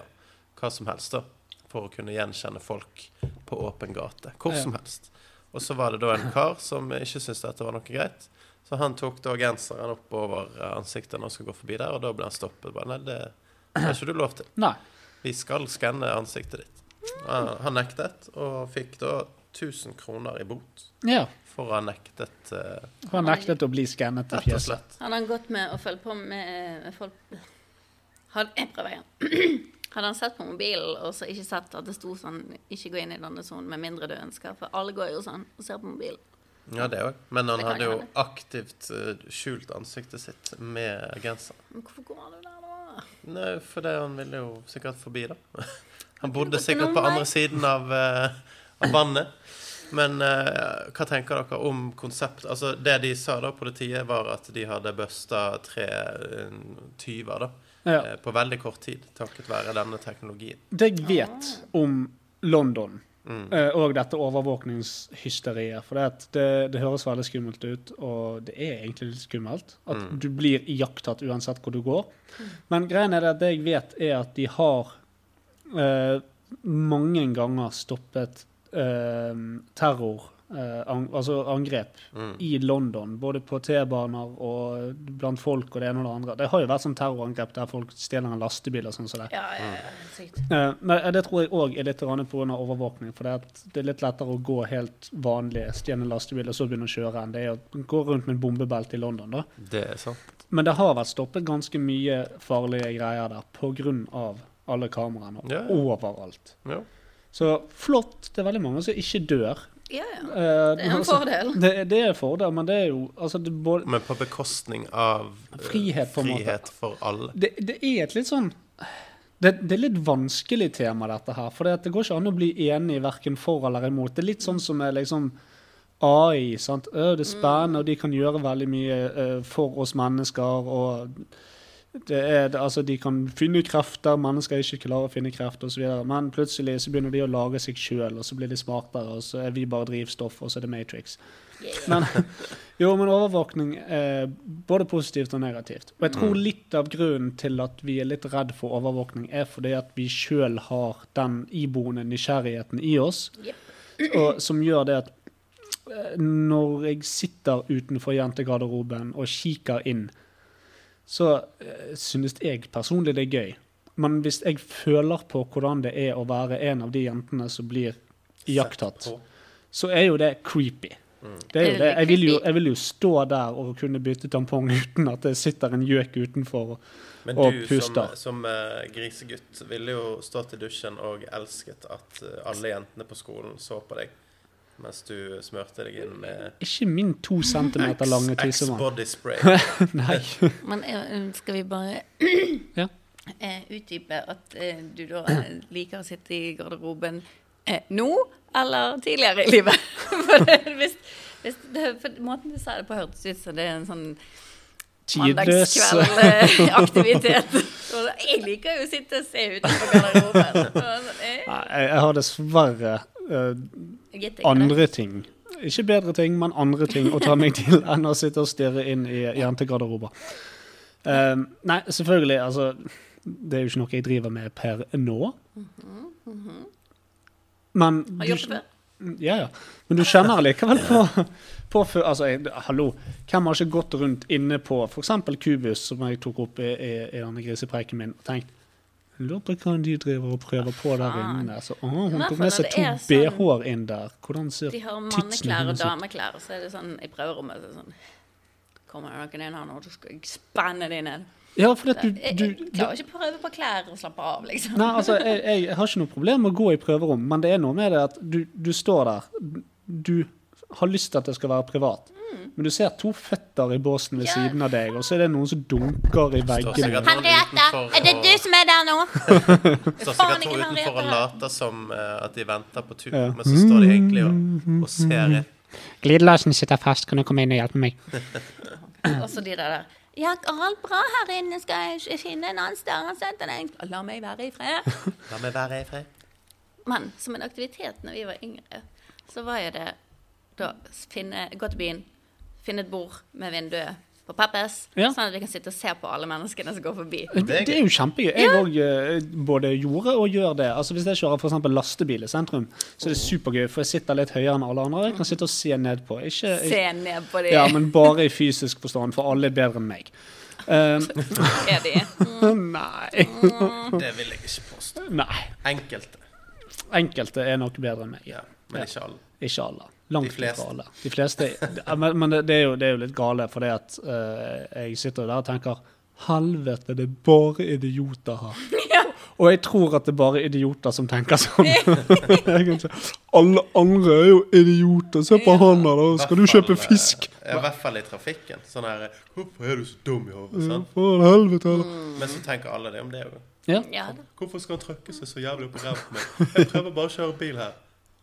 S4: hva som helst, da. For å kunne gjenkjenne folk på åpen gate. Hvor
S2: Ja.
S4: som helst. Og så var det da en kar som ikke syntes dette var noe greit. Så han tok da genseren opp over eh, ansiktet når han skulle gå forbi der, og da ble han stoppet. Bare, Nei, det har ikke du lov til.
S2: Nei.
S4: Vi skal skanne ansiktet ditt. Han han nektet, og fikk da 1000 kroner i bot
S2: Ja.
S4: for å ha nektet, eh,
S2: Han nektet å bli skannet i
S4: rett og
S2: fjeset.
S4: slett.
S3: Hadde han gått med å følge på med med folk Hadde, jeg prøver igjen. Hadde han sett på mobilen og så ikke sett at det sto sånn 'ikke gå inn i denne sonen med mindre du ønsker', for alle går jo sånn og ser på mobilen.
S4: Ja, det òg. Men han
S3: Det kan
S4: hadde jo
S3: hende.
S4: aktivt eh, skjult ansiktet sitt med genser.
S3: Men hvorfor går du der, da?
S4: Nei, for det han ville jo sikkert forbi, da. Han bodde
S3: gått en
S4: sikkert på
S3: annen
S4: andre siden av, eh, av vannet. Men eh, hva tenker dere om konsept? Altså, det de sa da, politiet, var at de hadde busta tre eh, tyver da,
S2: Ja.
S4: eh, på veldig kort tid, takket være denne teknologien.
S2: Det jeg vet om London
S4: Mm.
S2: Eh, og dette overvåkningshysteriet. For det, at det, det høres veldig skummelt ut, og det er egentlig litt skummelt. At
S4: Mm.
S2: du blir iakttatt uansett hvor du går. Men greien er det at det jeg vet, er at de har eh, mange ganger stoppet eh, terror, eh, an, altså angrep,
S4: Mm.
S2: i London. Både på T-baner og blant folk og det ene og det andre. Det har jo vært sånn terrorangrep der folk stjeler en lastebil og sånn som det.
S3: Ja, ja, ja, helt sikkert.
S2: Eh, Men det tror jeg òg er litt pga. overvåkning. For det, at det er litt lettere å gå helt vanlig, stjele en lastebil og så begynne å kjøre, enn det er å gå rundt med en bombebelte i London. da.
S4: Det er sant.
S2: Men det har vært stoppet ganske mye farlige greier der pga. alle kameraene
S4: Ja, ja.
S2: overalt.
S4: Ja.
S2: Så flott. Det er veldig mange som ikke dør.
S3: Ja, ja.
S2: Eh,
S3: Det er en
S2: altså,
S3: fordel.
S2: det, det er en fordel, men det er jo altså, det, er både,
S4: Men på bekostning av eh,
S2: Frihet, på en måte.
S4: frihet for alle.
S2: det, det er et litt sånn det, det er litt vanskelig tema, dette her. For det går ikke an å bli enig verken for eller imot. Det er litt sånn som er liksom AI. sant? Ø, det er spennende, og de kan gjøre veldig mye ø, for oss mennesker. og det er, det, altså, De kan finne krefter mennesker ikke klarer å finne krefter osv. Men plutselig så begynner de å lage seg sjøl, og så blir de smartere, og så er vi bare drivstoff, og så er det Matrix.
S3: Yeah.
S2: Men, jo, men overvåkning er både positivt og negativt. Og jeg tror
S4: Mm.
S2: litt av grunnen til at vi er litt redd for overvåkning, er fordi at vi sjøl har den iboende nysgjerrigheten i oss,
S3: Yep.
S2: og, som gjør det at eh, når jeg sitter utenfor jentegarderoben og kikker inn, så eh, synes jeg personlig det er gøy. Men hvis jeg føler på hvordan det er å være en av de jentene som blir iakttatt,
S4: Sett på.
S2: så er jo det creepy. Det er jo
S3: Er det
S2: det. Jeg vil jo,
S3: creepy?
S2: jeg vil jo stå der og kunne bytte tampong uten at det sitter en gjøk utenfor.
S4: Men
S2: Og
S4: du som,
S2: puster.
S4: som eh, grisegutt ville jo stått i dusjen og elsket at eh, alle jentene på skolen så på deg mens du smørte deg inn med
S2: Ikke min to centimeter lange tissemann.
S4: X-body spray.
S2: Nei.
S3: Men eh, skal vi bare
S2: Ja.
S3: eh, utdype at eh, du da eh, liker å sitte i garderoben eh, nå eller tidligere i livet? For, det, hvis, hvis det, for måten du sa det på, hørtes ut som det er en sånn
S2: Tidløs. eh,
S3: mandagskveldaktivitet. Jeg liker jo å sitte og se utenfor garderoben. Så, eh,
S2: Nei, jeg jeg har dessverre eh,
S3: jeg gjetter ikke det.
S2: andre ting. Ikke bedre ting, men andre ting å ta meg til enn å sitte og stirre inn i jentegarderober. Eh, nei, selvfølgelig, altså Det er jo ikke noe jeg driver med per nå. Men
S3: Mhm, Har du gjort det før?
S2: Ja, ja. Men du kjenner likevel på, på før, altså, jeg, Hallo, hvem har ikke gått rundt inne på f.eks. Cubus, som jeg tok opp i, i, i denne grisepreiken min, og tenkt Lurer på hva de driver og prøver på der
S3: Faen.
S2: inne. Så, å, hun
S3: Men
S2: tok
S3: for
S2: med
S3: når
S2: seg
S3: det
S2: to
S3: er sånn-
S2: BH-er inn der. Hvordan ser
S3: De har
S2: titsene
S3: manneklær og
S2: hennes ut?
S3: dameklær, og så er det sånn i prøverommet så er det sånn Kommer det noen inn her nå, så skal jeg spanne de ned.
S2: Ja, fordi at
S3: Jeg,
S2: du,
S3: jeg
S2: du,
S3: jeg klarer ikke å prøve på klær og slappe av, liksom.
S2: Nei, altså, jeg, jeg har ikke noe problem med å gå i prøverom, men det er noe med det at du, du står der. Du har lyst til at det skal være privat, men du ser to føtter i båsen ved
S3: Mm. Ja.
S2: siden av deg, og så er det noen som dunker i
S4: Står sikkert
S2: veggene.
S4: noen utenfor og-
S3: som er der nå?
S4: står
S3: Faen, ikke
S4: sikkert noen utenfor
S3: Henriette
S4: og
S3: her.
S4: later som eh, at de venter på tur,
S2: Ja. Mm-hmm.
S4: men så står de egentlig og, og ser inn.
S5: Glidelåsen sitter fast, kan du komme inn og hjelpe meg?
S3: Og så de der der. Ja, alt bra her inne. Skal jeg finne en annen større senter deg? La meg være i fred.
S4: La meg være i fred.
S3: Men som en aktivitet når vi var yngre, så var jo det da finne, gå til byen, finne et bord med vinduet på Peppes,
S2: Ja.
S3: sånn at vi kan sitte og se på alle menneskene som går forbi.
S2: Det er jo kjempegøy. Jeg òg både gjorde og gjør det. Altså Hvis jeg kjører for eksempel lastebil i sentrum, så er det supergøy, for jeg sitter litt høyere enn alle andre. og Jeg kan sitte og se ned på. Ikke,
S3: Se ned på de.
S2: ja, men bare i fysisk forstand, for alle er bedre enn meg. Um,
S3: er de.
S2: nei.
S3: Mm.
S4: Det vil jeg ikke påstå.
S2: nei.
S4: Enkelte,
S2: Enkelte er nok bedre enn meg.
S4: ja. Men ikke alle.
S2: Ikke alle. Langt
S4: De fleste.
S2: fra alle. De fleste. Ja, Men, men det, det, er jo, det er jo litt gale, fordi at eh, jeg sitter jo der og tenker Helvete, det er bare idioter her. Og jeg tror at det er bare idioter som tenker sånn. Egentlig. alle andre er jo idioter. Se på han her, da. Skal du kjøpe
S4: Hvertfall, eh,
S2: fisk?
S4: Ja, I hvert fall i trafikken. Sånn her eh, 'Hvorfor er du så dum i hodet?'
S2: Ja,
S4: sant?
S2: For helvete. eller?
S4: Men så tenker alle det om det òg.
S2: Ja.
S3: Ja da.
S4: Hvorfor skal han trøkke seg så jævlig opp i ræva på meg? Jeg prøver bare å kjøre bil her.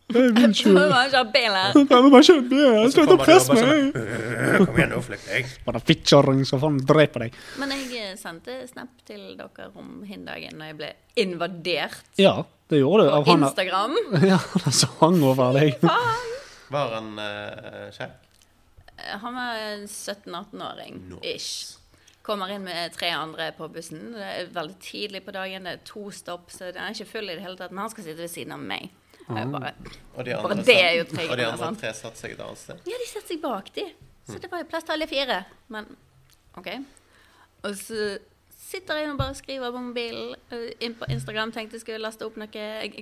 S2: Jeg vil
S3: Så
S2: ikke.
S3: var det ikke bilen.
S2: Jeg vil bare kjøpe mer.
S4: Og så
S2: Slutt å
S4: kommer de og
S2: presse
S4: bare
S2: meg.
S4: sånn «Øh, Kom igjen, nå, flyktning.
S2: Bare fittjåring som faen dreper deg.
S3: Men jeg sendte snap til dere om hin dagen når jeg ble invadert
S2: Ja, det gjorde du.
S3: på
S2: Av han der-
S3: Instagram.
S2: ja, han som hang over deg.
S4: Var han eh, kjekk?
S3: Han var en 17-18-åring
S4: Nice.
S3: ish. Kommer inn med tre andre på bussen. Det er veldig tidlig på dagen, det er to stopp, så den er ikke full i det hele tatt. Men han skal sitte ved siden av meg. Og
S2: Ah.
S3: jeg bare,
S4: Og de
S3: Bare
S4: andre,
S3: det er jo altså.
S4: satt- og de
S3: triggeren,
S4: andre
S3: sant?
S4: tre satte seg et annet sted.
S3: ja, de setter seg bak, de. Så det var jo plass til alle fire. Men OK. Og så sitter jeg og bare skriver på mobilen. eh, Inn på Instagram tenkte jeg skulle laste opp noen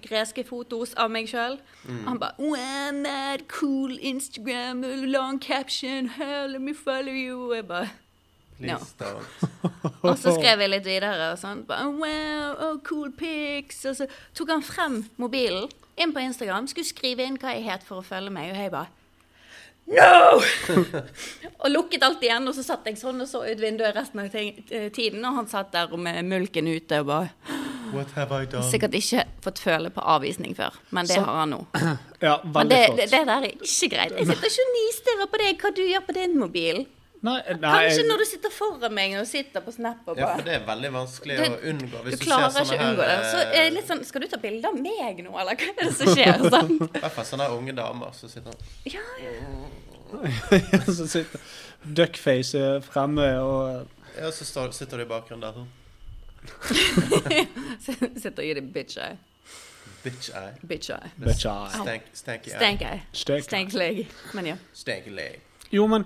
S3: greske fotos av meg sjøl. Han bare oh, I'm mad, cool Instagram, long caption, hell, let me follow you. Og jeg bare
S4: Please
S3: Ja.
S4: don't.
S3: Og så skrev jeg litt videre og sånn. bare, Wow, oh, cool pics. Og så tok han frem mobilen inn på Instagram, skulle skrive inn hva jeg het for å følge meg, og jeg bare No! og lukket alt igjen, og så satt jeg sånn og så ut vinduet resten av ting- eh, tiden, og han satt der med mulken ute og bare
S4: What have I done?
S3: Sikkert ikke fått føle på avvisning før, men det
S2: Mm. Så-
S3: har han nå.
S2: Ja,
S3: Men
S2: veldig
S3: det, det,
S2: flott.
S3: det der er ikke greit. Jeg sitter ikke og nistirrer på deg hva du gjør på din mobil.
S2: Nei, nei,
S3: Kanskje når du sitter foran meg og sitter på Snap og
S4: Ja,
S3: bare
S4: for det er veldig vanskelig å unngå.
S3: du
S4: Hvis du,
S3: klarer
S4: ser
S3: ikke
S4: sånne
S3: å unngå det.
S4: her, eh,
S3: Så er jeg litt sånn Skal du ta bilde av meg nå, eller hva er det som skjer? Sånn.
S4: eh, I hvert fall sånne unge damer som sitter sånn
S3: Ja, ja.
S2: så sitter duckface eh, fremme og
S4: Ja, så står, sitter du i bakgrunnen der sånn.
S3: Så Sitter og gir deg bitch eye.
S4: Bitch eye.
S3: Bitch eye.
S2: Bitcha.
S4: Stank, stanky eye.
S3: Stank eye.
S2: Støk.
S3: Stank leg. Men ja.
S4: Stanky leg.
S2: Jo, men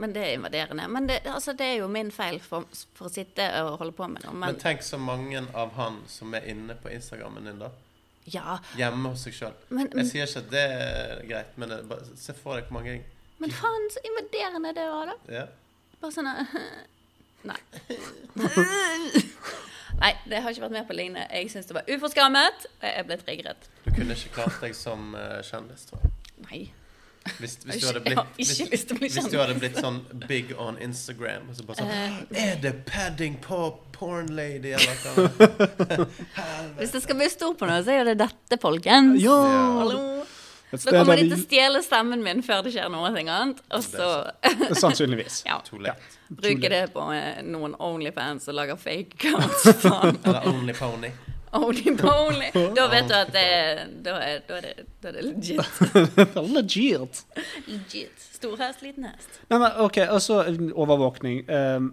S3: Men det er invaderende. Men det, altså, det er jo min feil for, for å sitte og holde på med noe.
S4: Men
S3: Men
S4: tenk så mange av han som er inne på Instagrammen din, da.
S3: ja.
S4: Hjemme hos seg sjøl.
S3: Men,
S4: Jeg sier ikke at det er greit, men det, er bare, se for deg hvor mange
S3: men faen, så invaderende det var, da.
S4: ja.
S3: Bare sånn eh, Nei. Nei, det har ikke vært med på lignende. Jeg syns det var uforskammet, og jeg ble triggeret.
S4: Du kunne ikke klart deg som eh, kjendis, tror jeg.
S3: Nei.
S4: Hvis, hvis, du hadde
S3: Jeg
S4: blitt,
S3: har
S4: hvis,
S3: ikke lyst til å bli
S4: hvis
S3: kjent.
S4: du hadde blitt sånn big on Instagram og så bare sånn
S3: Eh.
S4: Er det padding på porn lady, eller hva?
S3: Hvis det skal bli stor på noe, så er det dette, folkens.
S2: Ja!
S3: Hallo.
S2: Et
S3: Da
S2: sted
S3: kommer
S2: der
S3: de til å
S2: vi
S3: stjele stemmen min før det skjer noe annet. Og så
S2: Sannsynligvis.
S3: ja,
S4: Too late.
S3: bruke det på eh, noen Onlyfans og lage fake accounts. Faen.
S4: Eller Only Pony.
S3: Only pony. Da vet du at det da er, da er, det, da er det legit.
S2: Legit.
S3: legit. Stor hest, liten hest.
S2: Nei, men OK, altså overvåkning. Ehm,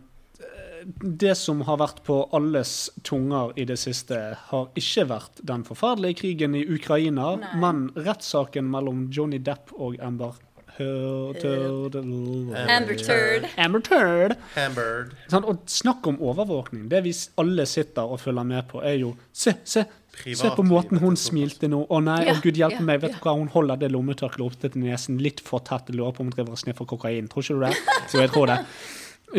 S2: det som har vært på alles tunger i det siste, har ikke vært den forferdelige krigen i Ukraina,
S3: Nei.
S2: men rettssaken mellom Johnny Depp og Amber Heard-
S3: Amber turd.
S2: Amber Turd.
S4: Hamburg.
S2: Sånn, og snakk om overvåkning. Det vi s- alle sitter og følger med på, er jo Se, se! Se på
S4: Privatlivet
S2: måten hun
S4: til folk.
S2: smilte nå. Å nei,
S3: Ja,
S2: å gud hjelpe
S3: ja,
S2: meg. Vet du
S3: ja.
S2: hva, hun holder det lommetørkleet opp til nesen litt for tett. Lurer på om hun driver og sniffer kokain. Tror ikke du det? Så jeg tror det.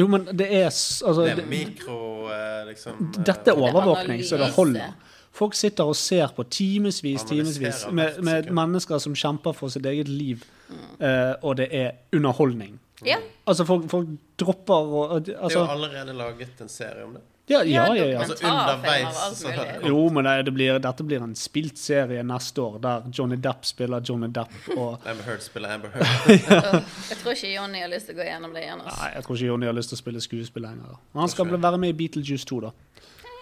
S2: Jo, men det er s- altså,
S4: Det er
S2: det,
S4: mikro eh, liksom eh,
S2: Dette er
S3: er
S2: overvåkning, så det
S3: analyse.
S2: holder. Folk sitter og ser på timevis, timevis
S4: Analyserer
S2: med,
S4: hvert
S2: med
S4: sekund.
S2: mennesker som kjemper for sitt eget liv,
S3: Mm.
S2: eh, og det er underholdning.
S3: Ja.
S2: Altså, folk, folk dropper og og-
S4: Det er jo
S2: altså,
S4: allerede laget en serie om det.
S2: ja, ja, ja, ja.
S3: dokumentar,
S4: Altså, underveis,
S3: film av alt
S4: så-
S3: mulig.
S2: Jo, men det, det blir, dette blir en spilt serie neste år, der Johnny Depp spiller Johnny Depp og
S4: Amber Heard spiller Amber Heard.
S3: Jeg tror ikke Johnny har lyst til å gå gjennom det igjen. altså.
S2: Nei, jeg tror ikke Johnny har lyst til å spille skuespill lenger. Men han skal vel være med i Beetlejuice 2, da.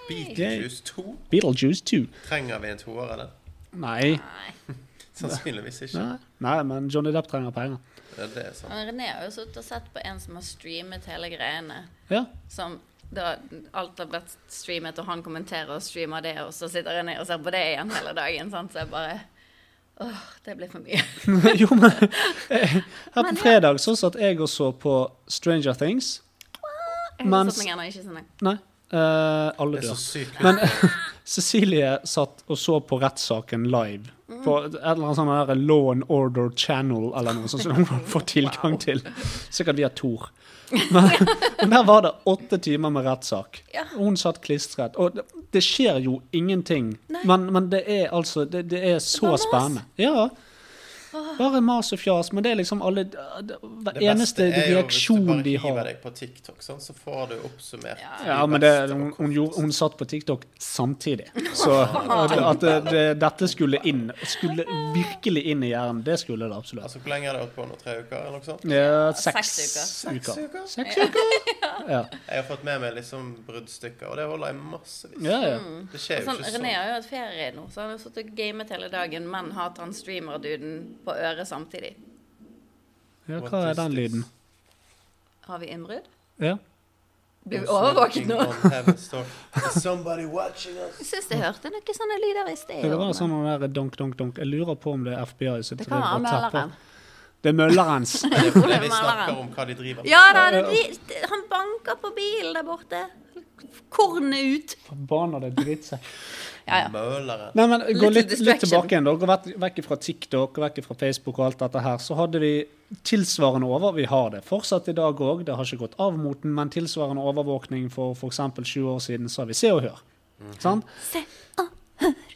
S4: Beatles 2.
S2: Beetlejuice 2?
S4: Trenger vi en toer av den?
S2: Nei.
S3: Altså.
S4: Sannsynligvis ikke.
S2: Nei, Nei men Johnny Depp trenger penger.
S4: Ja, det er sant.
S3: René har jo sittet og sett på en som har streamet hele greiene.
S2: Ja.
S3: som da alt har blitt streamet, og han kommenterer og streamer det, og så sitter jeg ned og ser på det igjen hele dagen. Sant? Så jeg bare Åh, det blir for mye.
S2: jo, men eh, Her på
S3: Men ja.
S2: fredag så satt jeg og så på Stranger Things.
S3: Jeg har
S2: Mens-
S3: satt meg gjerne ikke sånn.
S2: Nei. eh, alle
S4: Det er så
S2: dør.
S4: sykt.
S2: Men Cecilie satt og så på rettssaken live. På et eller annet sånn der Law and Order Channel eller noe sånt som hun får tilgang til. Sikkert via Tor. Men, men der var det åtte timer med rettssak.
S3: Ja.
S2: Hun satt klistret. Og det, det skjer jo ingenting.
S3: Nei.
S2: Men, men det er altså Det, det er så
S3: bare mas.
S2: spennende. Ja.
S3: Åh,
S2: Bare mas og fjas, men det er liksom alle Hver eneste reaksjon de
S4: Det beste er jo hvis du bare hiver
S2: har.
S4: deg på TikTok, sånn, så får du oppsummert
S3: Ja.
S4: de
S2: Ja, men det,
S4: beste
S2: hun,
S4: og
S2: hun, gjorde, hun satt på TikTok samtidig. Så at, at det, det, dette skulle inn, skulle virkelig inn i hjernen, det skulle det absolutt.
S4: Altså, Hvor lenge har det holdt på nå? Tre uker? eller noe sånt?
S2: Ja,
S3: seks
S2: seks
S4: uker.
S2: uker. Seks
S4: Seks uker?
S2: uker? Ja.
S4: Jeg har fått med meg liksom bruddstykker, og det holder jeg massevis.
S2: ja, ja.
S4: Det skjer jo
S3: Sånn,
S4: ikke sånn.
S3: René har jo hatt ferie nå, så han har sittet og gamet hele dagen, men hater han streamerduden på øret samtidig.
S2: ja
S4: What
S2: hva
S4: is
S2: er den
S4: this?
S2: lyden?
S3: Har vi innbrudd?
S2: Ja.
S3: Blir vi overvåket nå?
S4: sånn On heaven's door. Is Somebody watching us.
S3: Jeg syns jeg hørte noen sånne lyder i sted.
S2: Det var sånn noen der donk, donk, donk. Jeg lurer på om det er FBI som
S3: Det kan være
S2: og
S3: møleren.
S2: Det er møllerens.
S4: Det er fordi
S3: Hvordan
S4: vi
S3: er
S4: snakker
S3: det?
S4: om hva de driver med.
S3: Ja da, det, de, han banker på bilen der borte. Kornet ut.
S2: Forbanna det drittsekk.
S3: Ja, ja.
S4: Møleren.
S2: Nei, men gå
S3: Little
S2: litt, litt
S3: distraction.
S2: tilbake igjen. da. Gå vekk, vekk fra TikTok, vekk fra Facebook og alt dette her. Så hadde vi tilsvarende over. Vi har det fortsatt i dag òg. Det har ikke gått av moten, men tilsvarende overvåkning for f.eks. 20 år siden, så har vi Se og Hør. Sant?
S3: Se.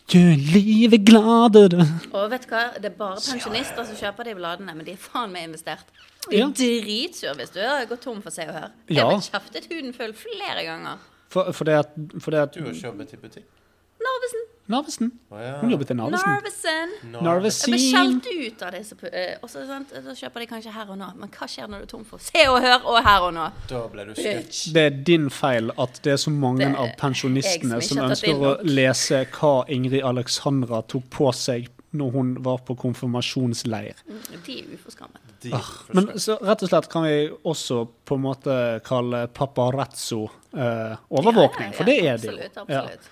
S2: Gjør livet gladere.
S3: Og vet du hva? Det er bare pensjonister som kjøper de bladene, men de er faen meg investert. Du
S2: Ja.
S3: er dritsur hvis du har gått tom for Se og Hør. Jeg
S2: Ja.
S3: har blitt kjeftet huden full flere ganger.
S2: For, for det at, for det at
S4: Du har ikke jobbet i butikk?
S3: Narvesen.
S2: Narvesen.
S4: Å ja.
S2: Hun jobbet i Narvesen.
S3: Narvesen. Jeg
S4: Nar-
S3: ble
S2: Narvesin.
S3: skjelt ut av disse pu- eh, Og så sant, så kjøper de kanskje her og nå. Men hva skjer når du er tom for Se og Hør og Her og nå?
S4: Da ble du skutt.
S3: Bitch.
S2: Det er din feil at det er så mange
S3: Det er
S2: av pensjonistene
S3: jeg som
S2: som
S3: ikke har tatt
S2: ønsker
S3: inn
S2: å
S3: nok.
S2: lese hva Ingrid Alexandra tok på seg når hun var på konfirmasjonsleir.
S3: Mm, De er uforskammet.
S4: De
S2: Ah, Men så rett og slett kan vi også på en måte kalle paparazzo eh, overvåkning, for det er det jo.
S3: Absolutt.
S2: Ja.
S3: absolutt.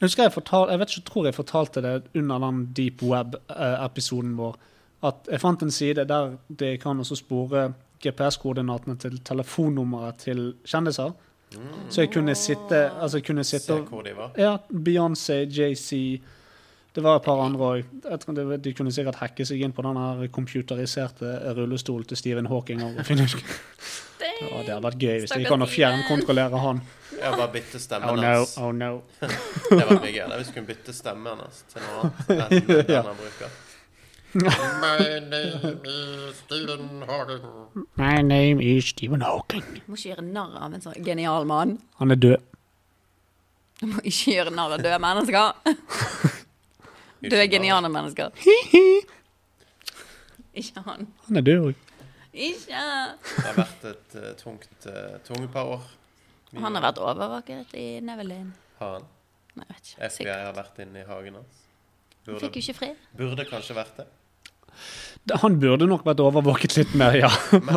S2: Jeg husker jeg fortal, jeg vet ikke, jeg tror jeg fortalte det under den Deep Web-episoden vår, at jeg fant en side der de kan også spore GPS-koordinatene til telefonnummeret til kjendiser. Så jeg kunne sitte, altså jeg kunne sitte
S4: Se
S2: og
S4: hvor de var.
S2: ja, Beyoncé, JC Det var et par andre òg. De kunne sikkert hacke seg inn på den her computeriserte rullestolen til Stephen Hawking. Og finne ut Ja, det hadde vært gøy hvis de
S3: Stakkars
S2: kan
S3: Stephen.
S2: fjernkontrollere han.
S4: Jeg bare bytte
S2: Oh
S4: stemmen
S2: no,
S4: hans.
S2: oh no.
S4: Det var mye gøy. da. Vi skulle bytte stemmen hans til noe annet enn den
S2: Ja.
S4: han bruker.
S6: My name is Stephen Hawking.
S5: My name is Stephen Hawking.
S3: Må ikke gjøre narr av en sånn genial mann.
S2: Han er død.
S3: Du må ikke gjøre narr av døde mennesker. Døde geniale mennesker. Ikke han.
S2: Han er død òg.
S3: Ikke
S4: Det har vært et eh, tungt eh, tunge par år. Vi-
S3: Han har vært overvåket i Neverland.
S4: Har han?
S3: Nei, jeg vet ikke.
S4: FBI
S3: Sikkert.
S4: har vært inne i hagen hans.
S3: Han
S4: Burde,
S3: Fikk jo ikke fred.
S4: burde kanskje vært det.
S2: Han burde nok vært overvåket litt mer, ja.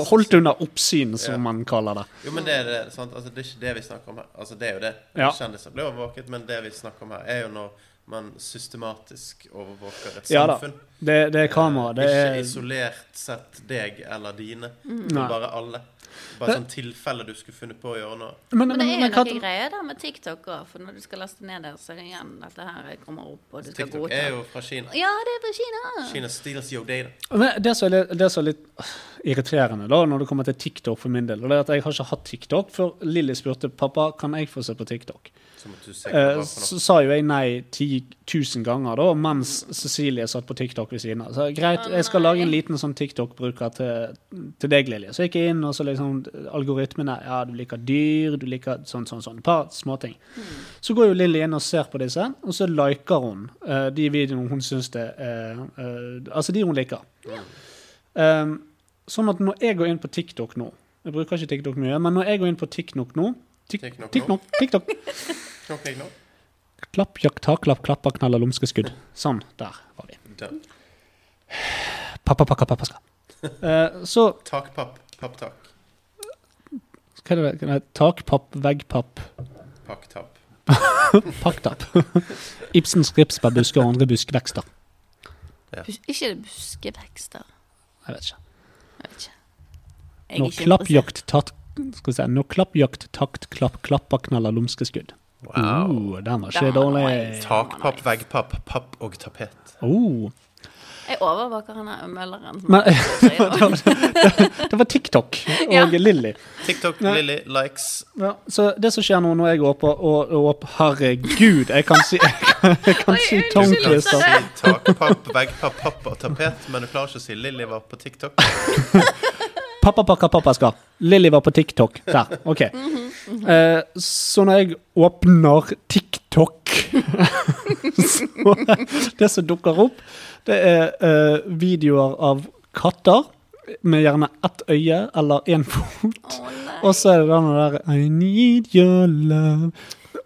S2: Holdt under oppsyn, som
S4: Ja.
S2: man kaller det.
S4: Jo, men det er det, sant? Altså, det er ikke det vi snakker om her. Altså, det er jo det.
S2: Ja.
S4: Kjendiser blir overvåket, men det vi snakker om her, er jo når man systematisk overvåker et
S2: Ja da.
S4: samfunn.
S2: Det, det er kamera. Det
S4: Eh,
S2: er
S4: Ikke isolert sett deg eller dine,
S3: Mm.
S2: Nei.
S4: men bare alle. Bare sånn tilfelle du skulle funnet på å gjøre noe.
S3: Men det er jo
S2: hva-
S3: noen greier der med TikTok òg, for når du skal laste ned der, så er det igjen dette her kommer opp, og du skal
S4: TikTok
S3: godta.
S4: er jo fra Kina.
S3: Ja, det er fra Kina.
S4: Kina steals your data.
S2: Men det som er litt, det som er litt øh, irriterende da, når det kommer til TikTok for min del, og det er at jeg har ikke hatt TikTok før Lilly spurte pappa kan jeg få se på TikTok.
S4: Så måtte du se hva det
S2: Eh,
S4: var for
S2: så
S4: noe.
S2: sa jo jeg nei 10 000 ganger da, mens Cecilie satt på TikTok ved siden av. Så greit, jeg skal lage en liten sånn TikTok-bruker til, til deg, Lilly. Så gikk jeg inn, og så liksom algoritmene Ja, du liker dyr, du liker sånn, sånn, sånn. Et par småting. Så går jo Lilly inn og ser på disse, og så liker hun eh, de videoene hun syns det er eh, Altså de hun liker. Um, sånn at når jeg går inn på TikTok nå Jeg bruker ikke TikTok mye, men når jeg går inn på TikTok nå Tik-
S4: TikTok nå?
S2: TikTok, TikTok
S4: Knokk, knokk, knokk.
S2: Klapp, jakk, taklapp, klappa, knalla, lumske, skudd. Sånn, der var vi.
S4: Dønn.
S2: Pappa, pakka, pappa, skal. Eh, så
S4: Takpapp. Papptak.
S2: hva er det det? Nei, Takpapp, veggpapp,
S4: Pakktapp.
S2: pakktapp. Ibsens ripsbærbusker og andre buskvekster.
S3: Bus ikke det buskevekster.
S2: Jeg vet ikke.
S3: Jeg vet ikke. Jeg er
S2: Når
S3: ikke interessert.
S2: klappjakt, tatt Skal vi se. Når klappjakt, takt, klapp, klappa, knalla, lumske, skudd.
S4: Wow.
S2: Uh, den var
S3: Den
S2: ikke
S3: var
S2: dårlig.
S3: nice.
S4: Takpapp, veggpapp, papp og tapet.
S2: Oh.
S3: Jeg overvåker han her mølleren. som
S2: Men-
S3: er på tre år.
S2: det, var, det var TikTok og
S3: Ja.
S2: Lilly.
S4: TikTok,
S2: Ja.
S4: Lilly, likes.
S2: Ja, så det som skjer nå når jeg går på og, og opp, Herregud, jeg kan si, jeg kan, jeg kan
S3: Oi,
S2: si
S3: unnskyld,
S4: Du kan si
S2: tongtwister.
S4: takpapp, veggpapp, papp og tapet, men du klarer ikke å si Lilly var på TikTok.
S2: Pappa pakker pappa skal. Lilly var på TikTok. Der. OK.
S3: Mhm,
S2: Eh, så når jeg åpner TikTok så Det som dukker opp, det er eh, videoer av katter med gjerne ett øye eller én fot.
S3: Å, nei.
S2: Og så er det den der I need your love.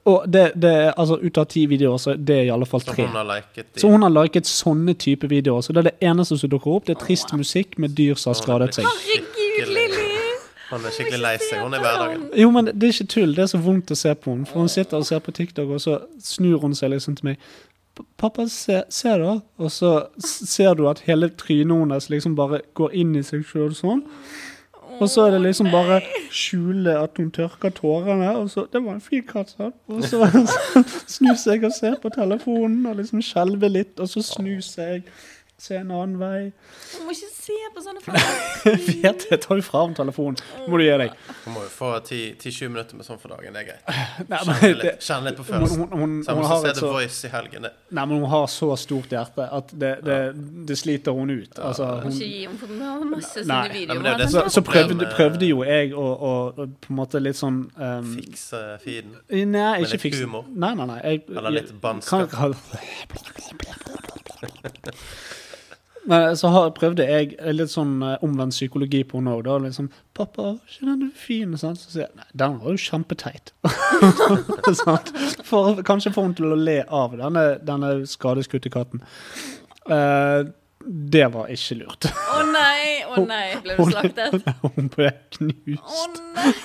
S2: Og det, det er altså ut av ti videoer, så det er i alle fall
S4: Så
S2: tre.
S4: hun har liket de.
S2: Så hun har liket sånne type videoer. Så det er det eneste som dukker opp. Det er trist
S3: Wow.
S2: musikk med dyr som har skadet seg.
S3: Herregud, Lilly!
S4: Hun er skikkelig lei seg. Hun er hverdagen.
S2: Jo, men det er ikke tull. Det er så vondt å se på henne. For hun sitter og ser på TikTok, og så snur hun seg liksom til meg. «P- Pappa, se, se da. Og så s- ser du at hele trynet hennes liksom bare går inn i seg sjøl sånn. Og så er det liksom bare skjule at hun tørker tårene. Og så Det var en fin katt, sant? Og så snur seg og ser på telefonen og liksom skjelver litt, og så snur seg. Se en annen vei.
S3: Du må ikke se på sånne folk.
S2: Jeg vet det. Ta jo fra henne telefonen. Nå må du gi deg.
S4: Hun må jo få 10-20 minutter med sånn for dagen. Det er greit.
S2: Nei,
S4: Kjenne
S2: men, det,
S4: litt, kjenne litt på
S2: hun,
S4: følelsen.
S2: hun, hun, hun,
S4: Samme som
S2: har
S4: ser
S2: et
S4: The
S2: så
S4: Voice i helgen. Det.
S2: Nei, men hun har så stort hjerte at det, det, det sliter hun ut. Altså, hun,
S3: Ikke gi henne for hun har
S2: Nei.
S3: masse sånne
S4: Nei, men
S3: videoer.
S4: det er jo det
S2: så,
S3: Hun sånn
S2: så prøvde,
S4: Problemet-
S2: prøvde jo jeg å, å, å på en måte litt sånn um,
S4: Fikse eh, feeden.
S2: Eh, Nei,
S4: litt
S2: ikke fikse
S4: humor?
S2: Nei, nei, nei. Jeg,
S4: Eller litt
S2: kan-
S4: bannskap.
S2: kan- Men så har, prøvde jeg litt sånn eh, omvendt psykologi på henne òg. Da liksom 'Pappa, ikke den er fin?' og sånn. Så sier jeg 'Nei, den var jo kjempeteit'. Sant? for, kanskje få henne til å le av denne, denne skadeskutte katten. Eh, det var ikke lurt.
S3: Å nei, å nei, ble du slaktet?
S2: Hun ble knust.
S3: Å nei!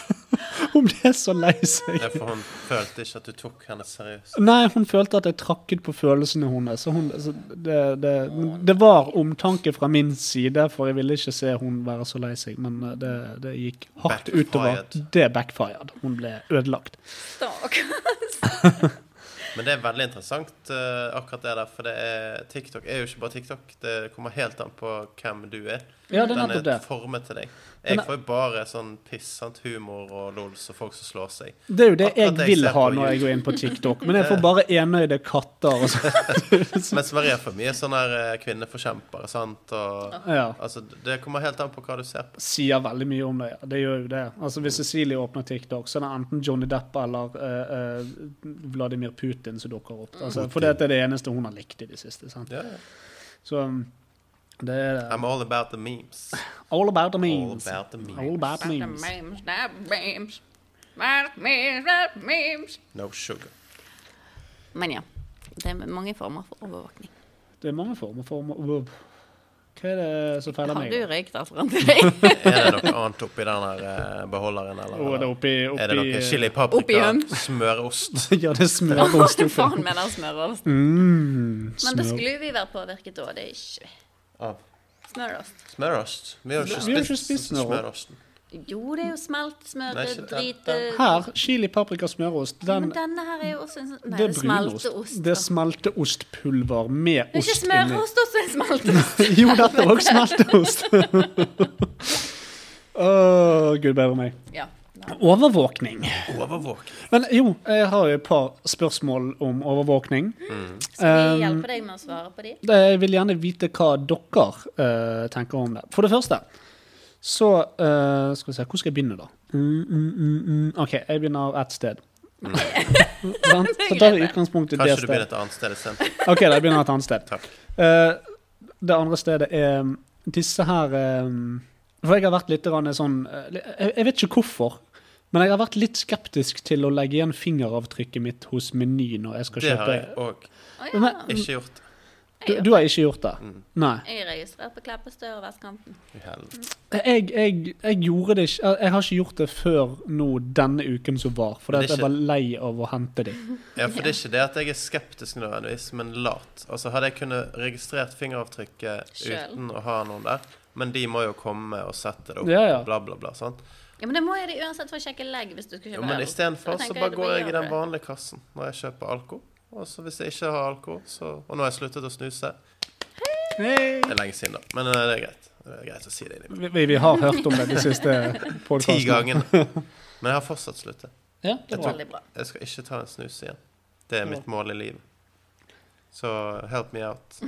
S2: Hun ble så lei seg.
S4: Det er for hun følte ikke at du tok henne seriøst.
S2: Nei, hun følte at jeg trakket på følelsene hennes. så Hun, altså, det, det, men det var omtanke fra min side, for jeg ville ikke se hun være så lei seg. Men eh, det, det gikk hardt
S4: Backfired.
S2: utover. Det backfired. Hun ble ødelagt.
S3: Stakkar.
S4: Men det er veldig interessant, eh, akkurat det der. For det er, TikTok er jo ikke bare TikTok. Det kommer helt an på hvem du er.
S2: Ja, det er
S4: Den
S2: nettopp det.
S4: er formet til deg.
S2: Den
S4: Jeg
S2: er-
S4: får jo bare sånn pissant humor og lols og folk som slår seg.
S2: Det er jo det jeg
S4: Akkurat det jeg
S2: vil
S4: ser
S2: ha
S4: på
S2: når jeg går inn på TikTok, men jeg får bare enøyde katter. Og så.
S4: Mens Maria får mye sånn her eh, kvinneforkjempere, sant, og
S2: Ja.
S4: Altså, det kommer helt an på hva du ser på.
S2: Sier veldig mye om det. ja. Det gjør jo det. Altså, Hvis Cecilie åpner TikTok, så er det enten Johnny Depp eller eh, eh, Vladimir Putin som dukker opp. Altså, for det er det eneste hun har likt i det siste. sant?
S4: Ja, ja.
S2: Så um, det er det.
S4: I'm all about the memes.
S2: All about the
S4: All
S2: memes.
S4: about the memes.
S2: All about memes.
S3: Memes, that memes. That memes, that memes.
S4: No sugar.
S3: Men ja, det er mange former for overvåkning.
S2: Det er mange former for Wow. Hva er det som feiler
S3: Har
S2: meg?
S3: du røykt et eller annet?
S4: Er det noe annet oppi den her eh, beholderen, eller?
S2: Å, det er oppi, oppi eh,
S4: er det noe chili
S3: Oppi
S4: paprika,
S3: den.
S4: smørost?
S2: Ja, det er smørost
S3: Hva
S2: oppi.
S3: faen mener smørost?
S2: Mm,
S3: Men det
S2: smør.
S3: skulle jo vi vært påvirket da, det er ikke
S4: Av
S3: smørost.
S4: Ah, smørost? Vi har jo
S2: Vi har
S4: ikke
S2: ikke
S4: spist
S2: spist smørost.
S4: smørosten.
S3: Jo, det er jo smelt smør,
S4: Nei,
S3: det
S4: ikke
S3: er
S4: det.
S3: drit det-
S2: Her. Chili, paprika, smørost. Den,
S3: Men denne her er jo også en sånn Nei,
S2: det
S3: det
S2: er
S3: er
S2: brunost.
S3: smelteost.
S2: Det er smelteostpulver med
S3: Det er ikke
S2: ost inni.
S3: smørost også en smelteost.
S2: Jo, dette er også smelteost. Å, gud bedre meg.
S3: ja. nei.
S2: Overvåkning.
S4: Overvåk.
S2: Men jo, jeg har jo et par spørsmål om overvåkning.
S3: Mm. Skal vi
S2: Um,
S3: hjelpe deg med å svare på de?
S2: Jeg vil gjerne vite hva dere eh, tenker om det. For det første så eh, Skal vi se, hvor skal jeg begynne, da? Mm, mm, mm, mm. OK, jeg begynner ett sted.
S3: Mm.
S2: Sant? Så da er utgangspunktet det
S4: Kanskje du begynner
S2: stedet.
S4: et annet sted isteden.
S2: OK, da jeg begynner et annet sted.
S4: Takk.
S2: Eh, det andre stedet er mm, disse her eh, For jeg har vært litt grann sånn eh, jeg, jeg vet ikke hvorfor. Men jeg har vært litt skeptisk til å legge igjen fingeravtrykket mitt hos Meny når jeg skal
S4: Det
S2: kjøpe.
S4: har jeg òg
S3: Å ja.
S2: Men-
S4: ikke gjort.
S2: Du, du har ikke gjort det?
S4: Mm.
S2: Nei.
S3: Jeg er registrert på Kleppestø og Vestkanten.
S4: i helvete.
S2: Jeg, jeg, jeg gjorde det ikke eh, Jeg har ikke gjort det før nå denne uken som var,
S4: Men
S2: fordi
S4: det er
S2: at jeg var lei av å hente dem.
S4: Ja, for det er ikke det at jeg er skeptisk nødvendigvis, men lat. Altså, hadde jeg kunnet registrert fingeravtrykket
S3: Selv.
S4: uten å ha noen der, men de må jo komme og sette det opp,
S2: Ja, ja.
S4: bla, bla, bla, sant?
S3: Ja, men det må jeg de uansett for å sjekke legg hvis du skal
S4: Jo,
S3: kjøpe
S4: men
S3: øl.
S4: istedenfor
S3: Da
S4: så
S3: tenker
S4: bare
S3: jeg du
S4: går jeg i
S3: gjøre
S4: den
S3: det.
S4: vanlige kassen når jeg kjøper alkohol. Og så hvis jeg ikke har alkohol, så Og nå har jeg sluttet å snuse.
S2: Hey.
S4: Det er lenge siden, da. Men eh, det er greit. Det er greit å si det innimellom.
S2: Vi, vi har hørt om det de siste
S4: Ti
S2: podkastene.
S4: ganger. Men jeg har fortsatt sluttet.
S2: Ja, det
S4: Jeg
S2: er bra.
S4: tror-
S3: Veldig bra.
S4: Jeg skal ikke ta en snus igjen. Det er
S2: Bra.
S4: mitt mål i livet. Så help me out.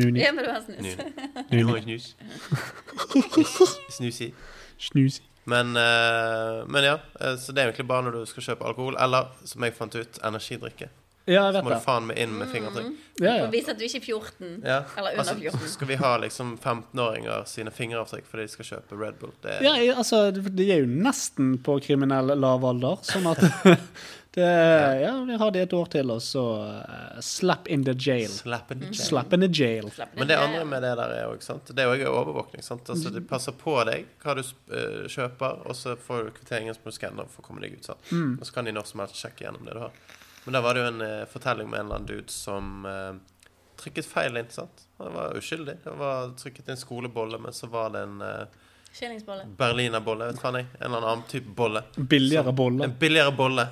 S2: Nuni.
S3: Ja, men du sånn, har snus.
S4: Nune.
S2: Nuni.
S4: Snus. Snusi.
S2: Snus.
S4: Men, eh, men ja, eh, så det er egentlig bare når du skal kjøpe alkohol, eller som jeg fant ut, energidrikke.
S2: Ja, jeg
S4: Så må
S2: vet
S4: du
S2: det.
S4: faen meg inn med fingertrykk.
S2: Ja,
S3: For å
S2: ja.
S3: vise at du ikke er 14.
S4: Ja.
S3: Eller under
S4: Altså,
S3: 14.
S4: skal vi ha liksom 15-åringer sine fingeravtrykk fordi de skal kjøpe Red Bull? Det er,
S2: Ja, jeg- altså, de er jo nesten på kriminell lav alder, sånn at det, Ja, vi har det et år til, og så eh, slap in the jail.
S4: Slap
S3: Mm.
S4: in the jail.
S2: Slap in the jail.
S3: Slapp ned.
S4: Men det andre med det der er jo, ikke sant? Det er jo også overvåkning. sant? Altså, De passer på deg, hva du eh, kjøper, og så får du kvitteringen som du skanner for å komme deg ut. sant? Og så kan de når som helst sjekke gjennom det du har. Men der var det jo en eh, fortelling med en eller annen dude som eh, trykket feil inn. sant? Han var uskyldig. Han var trykket inn skolebolle, men så var det en eh,
S3: Skillingsbolle.
S4: berlinerbolle. vet faen jeg. En eller annen annen type bolle.
S2: Billigere boller.
S4: En billigere bolle.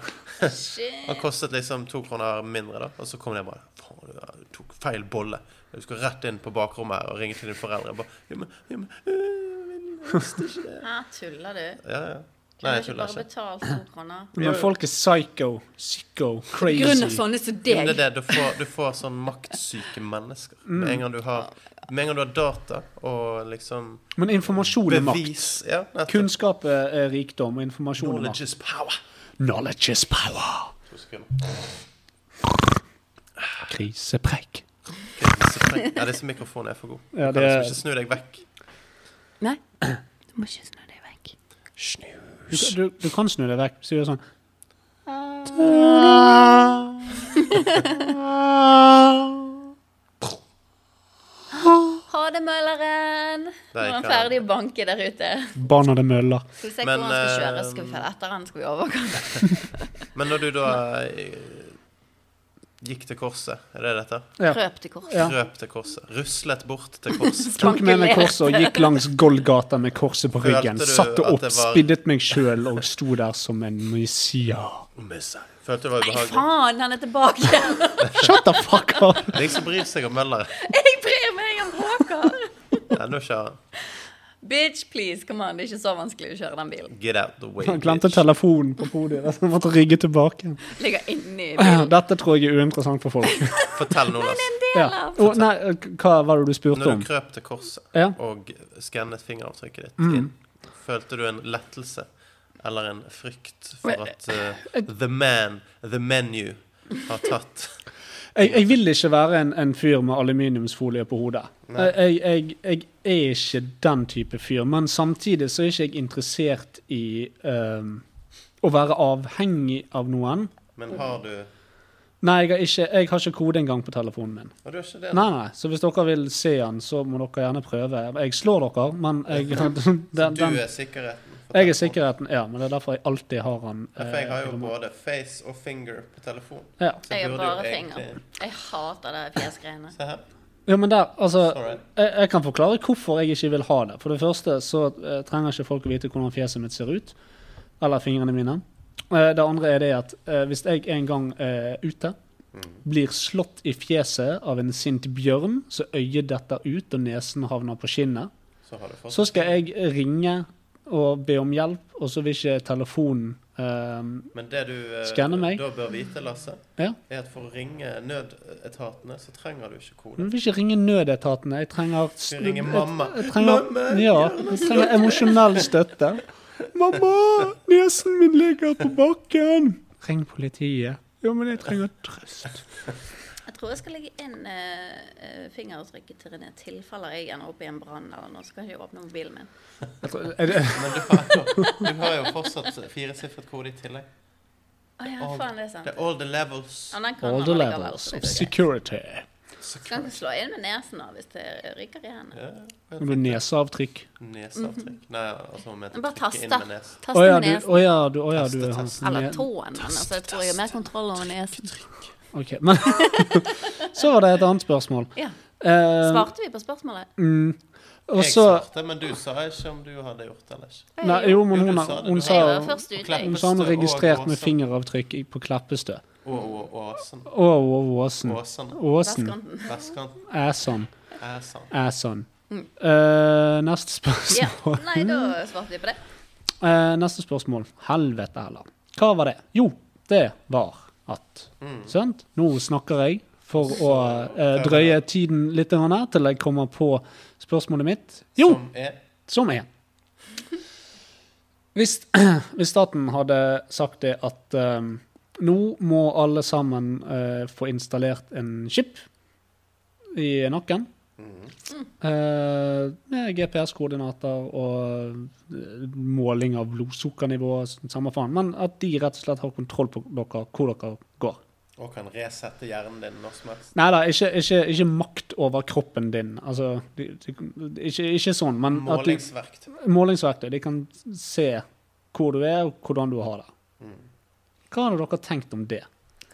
S3: Shit.
S4: Han kostet liksom to kroner mindre, da. Og så kom de bare Faen, du har- du tok feil bolle. Du skal rett inn på bakrommet her og ringe til dine foreldre. Jeg Bare, ja, men, ja, men, øh, jeg visste ikke det.
S3: Her tuller du.
S4: Ja, ja. Nei,
S3: Kunne
S4: jeg
S3: du ikke
S4: tuller
S3: bare
S4: ikke.
S3: betalt to kroner?
S2: Men folk er psycho, psycho,
S3: Grunn av
S2: crazy.
S3: sånne som
S4: Ja, men
S3: deg.
S4: det er det. Du får, du får sånn maktsyke mennesker.
S2: Mm.
S4: Med en gang du har, med en gang du har data og liksom
S2: Men informasjon er makt.
S4: bevis ja, nettopp.
S2: Kunnskap er er rikdom, og informasjon er makt.
S4: Knowledge is power.
S2: Knowledge is power.
S4: To sekunder.
S2: Krisepreik.
S4: Ja, disse mikrofonene er for gode.
S2: Ja,
S4: Du kan liksom
S2: det,
S4: ikke snu deg vekk.
S3: Nei. Du må ikke snu deg vekk.
S2: du, du, du kan snu deg vekk hvis du gjør sånn.
S3: Ha det, mølleren. Nå er han ferdig å banke der ute.
S2: Barna det møller.
S3: Skal vi se
S4: Men,
S3: hvor han skal kjøre?
S4: eh,
S3: Skal vi følge etter han? Skal vi overkomme?
S4: Men når du da eh, gikk til korset, er det dette?
S2: Ja.
S3: Krøp til korset.
S2: Ja.
S4: Krøp til korset. Ruslet bort til korset.
S2: Tok med meg korset og gikk langs Golgata med korset på
S4: Følte
S2: ryggen.
S4: du
S2: Satte
S4: at
S2: opp,
S4: det var-
S2: spiddet meg sjøl og sto der som en messia.
S4: Følte det var
S3: Nei,
S4: ubehagelig.
S3: faen, han er tilbake!
S2: Shut the fuck up!
S4: Det er ingen som bryr seg om Møller.
S3: Jeg bryr meg, han bråker!
S4: Ennå ikke har han.
S3: Bitch, please, come on. Det er ikke så vanskelig å kjøre den bilen.
S4: Get out the way.
S2: Han glemte
S4: bitch.
S2: telefonen på podiet. så Han måtte rygge tilbake.
S3: Ligger inni bilen.
S2: Dette tror jeg er uinteressant for folk.
S4: Fortell nå, Lars.
S2: Ja. Å, nei, hva var det du spurte
S4: Når
S2: om?
S4: du krøp til korset
S2: Ja. Mm.
S4: og skannet fingeravtrykket ditt inn, følte du en lettelse eller en frykt for at eh, the man, the menu, har tatt
S2: Jeg, jeg vil ikke være en, en fyr med aluminiumsfolie på hodet. Jeg, jeg, jeg, jeg er ikke den type fyr. Men samtidig så er ikke jeg interessert i ehm, å være avhengig av noen.
S4: Men har du
S2: Nei, jeg har ikke, jeg har ikke kode engang på telefonen min.
S4: Og du har ikke det?
S2: Nei, nei, Så hvis dere vil se den, så må dere gjerne prøve. Jeg slår dere, men jeg, den,
S4: Så
S2: den,
S4: du er sikkerheten? for
S2: jeg er
S4: telefonen.
S2: sikkerheten. Ja, men det er derfor jeg alltid har den.
S4: Ja, for jeg har jo
S2: eh,
S4: både face og finger på telefon.
S2: ja.
S4: Så
S3: Jeg har
S4: burde jo
S3: bare
S4: egentlig-
S3: finger. Jeg hater det fjesgreiene.
S4: Se her.
S2: ja, men der, altså
S4: Sorry.
S2: jeg, jeg kan forklare hvorfor jeg ikke vil ha det. For det første så eh, trenger ikke folk å vite hvordan fjeset mitt ser ut. Eller fingrene mine. Eh, det andre er det at eh, hvis jeg en gang eh, ute
S4: Mm.
S2: blir slått i fjeset av en sint bjørn, så øyet detter ut, og nesen havner på skinnet,
S4: Så har du fått
S2: så skal jeg ringe og be om hjelp, og så vil ikke telefonen eh,
S4: Men det du eh,
S2: Skanner meg.
S4: da bør vite, Lasse,
S2: Ja.
S4: er at for å ringe nødetatene, så trenger du ikke kode.
S2: Jeg vil ikke ringe nødetatene. Jeg trenger
S4: Du ringer
S2: Mm. jeg-
S4: mamma.
S2: Jeg trenger, ja, jeg trenger emosjonell støtte. Mamma, nesen min ligger på bakken. Ring politiet. Jo, men jeg trenger trøst.
S3: Jeg tror jeg skal legge inn eh, eh, fingeravtrykket til René. Tilfaller jeg ender opp i en brann eller noe, så kan jeg ikke åpne mobilen min.
S4: Men du har, du har jo fortsatt firesifret kode i tillegg.
S3: Å ja,
S4: All-
S3: faen, det er sant.
S4: Det er all the levels.
S3: Ja, den kan
S2: All
S3: han
S2: the
S3: allerede ha
S2: levels
S3: vært
S2: of
S3: ute.
S2: security.
S3: Skal ikke slå inn med nesen da, hvis det ryker i hendene.
S4: Ja,
S2: Når du har neseavtrykk.
S4: Neseavtrykk. Nei, altså man mente
S3: Men Mhm. bare
S4: trykke inn med
S3: taster.
S4: nesen.
S2: Å
S3: Taster
S2: ja,
S3: med
S2: du,
S3: nesen.
S2: å ja, du, å ja, du er han.
S4: Tast,
S3: Eller
S2: Ne-
S3: tåen, men altså, jeg tror jeg har mer kontroll over nesen.
S2: Ok, men Så var det et annet spørsmål.
S3: Ja.
S2: Eh,
S3: Svarte vi på spørsmålet?
S2: mm, og
S4: Jeg
S2: så
S4: svarte, men du sa ikke om du hadde gjort det eller ikke.
S3: Jeg
S2: Nei, jo, men
S4: Jo, du
S2: hun,
S4: sa det,
S2: hun
S4: du-
S2: sa
S3: Jeg var først
S4: Og
S3: ute.
S4: klem.
S2: Hun sa hun registrert med fingeravtrykk i- på Kleppestø.
S4: Og, og, og åsen.
S2: Å, å, åsen.
S4: Åsene.
S2: Åsen.
S3: Vestkanten.
S4: Vestkanten.
S2: Æsan.
S4: Er sant.
S2: Ass on.
S3: Mm.
S2: Eh, neste
S3: Ja.
S2: spørsmål.
S3: Nei, da svarte jeg på det.
S2: Eh, neste spørsmål. Helvete heller. Hva var det? Jo, det var at
S4: Mm.
S2: Sant? Nå snakker jeg for å eh, drøye tiden litt grann her til jeg kommer på spørsmålet mitt. Jo,
S4: Som er
S2: som er Hvis, hvis staten hadde sagt det at ehm, nå må alle sammen eh, få installert en chip i nakken eh, med GPS-koordinater og eh, måling av blodsukkernivå, samme faen, men at de rett og slett har kontroll på dere, hvor dere går.
S4: Og kan resette hjernen din når som helst.
S2: Nei da, ikke, ikke, ikke makt over kroppen din. Altså, de, de, ikke, ikke sånn, men at de,
S4: Målingsverktøy.
S2: målingsverktøy. De kan se hvor du er, og hvordan du har det. Hva hadde dere tenkt om det?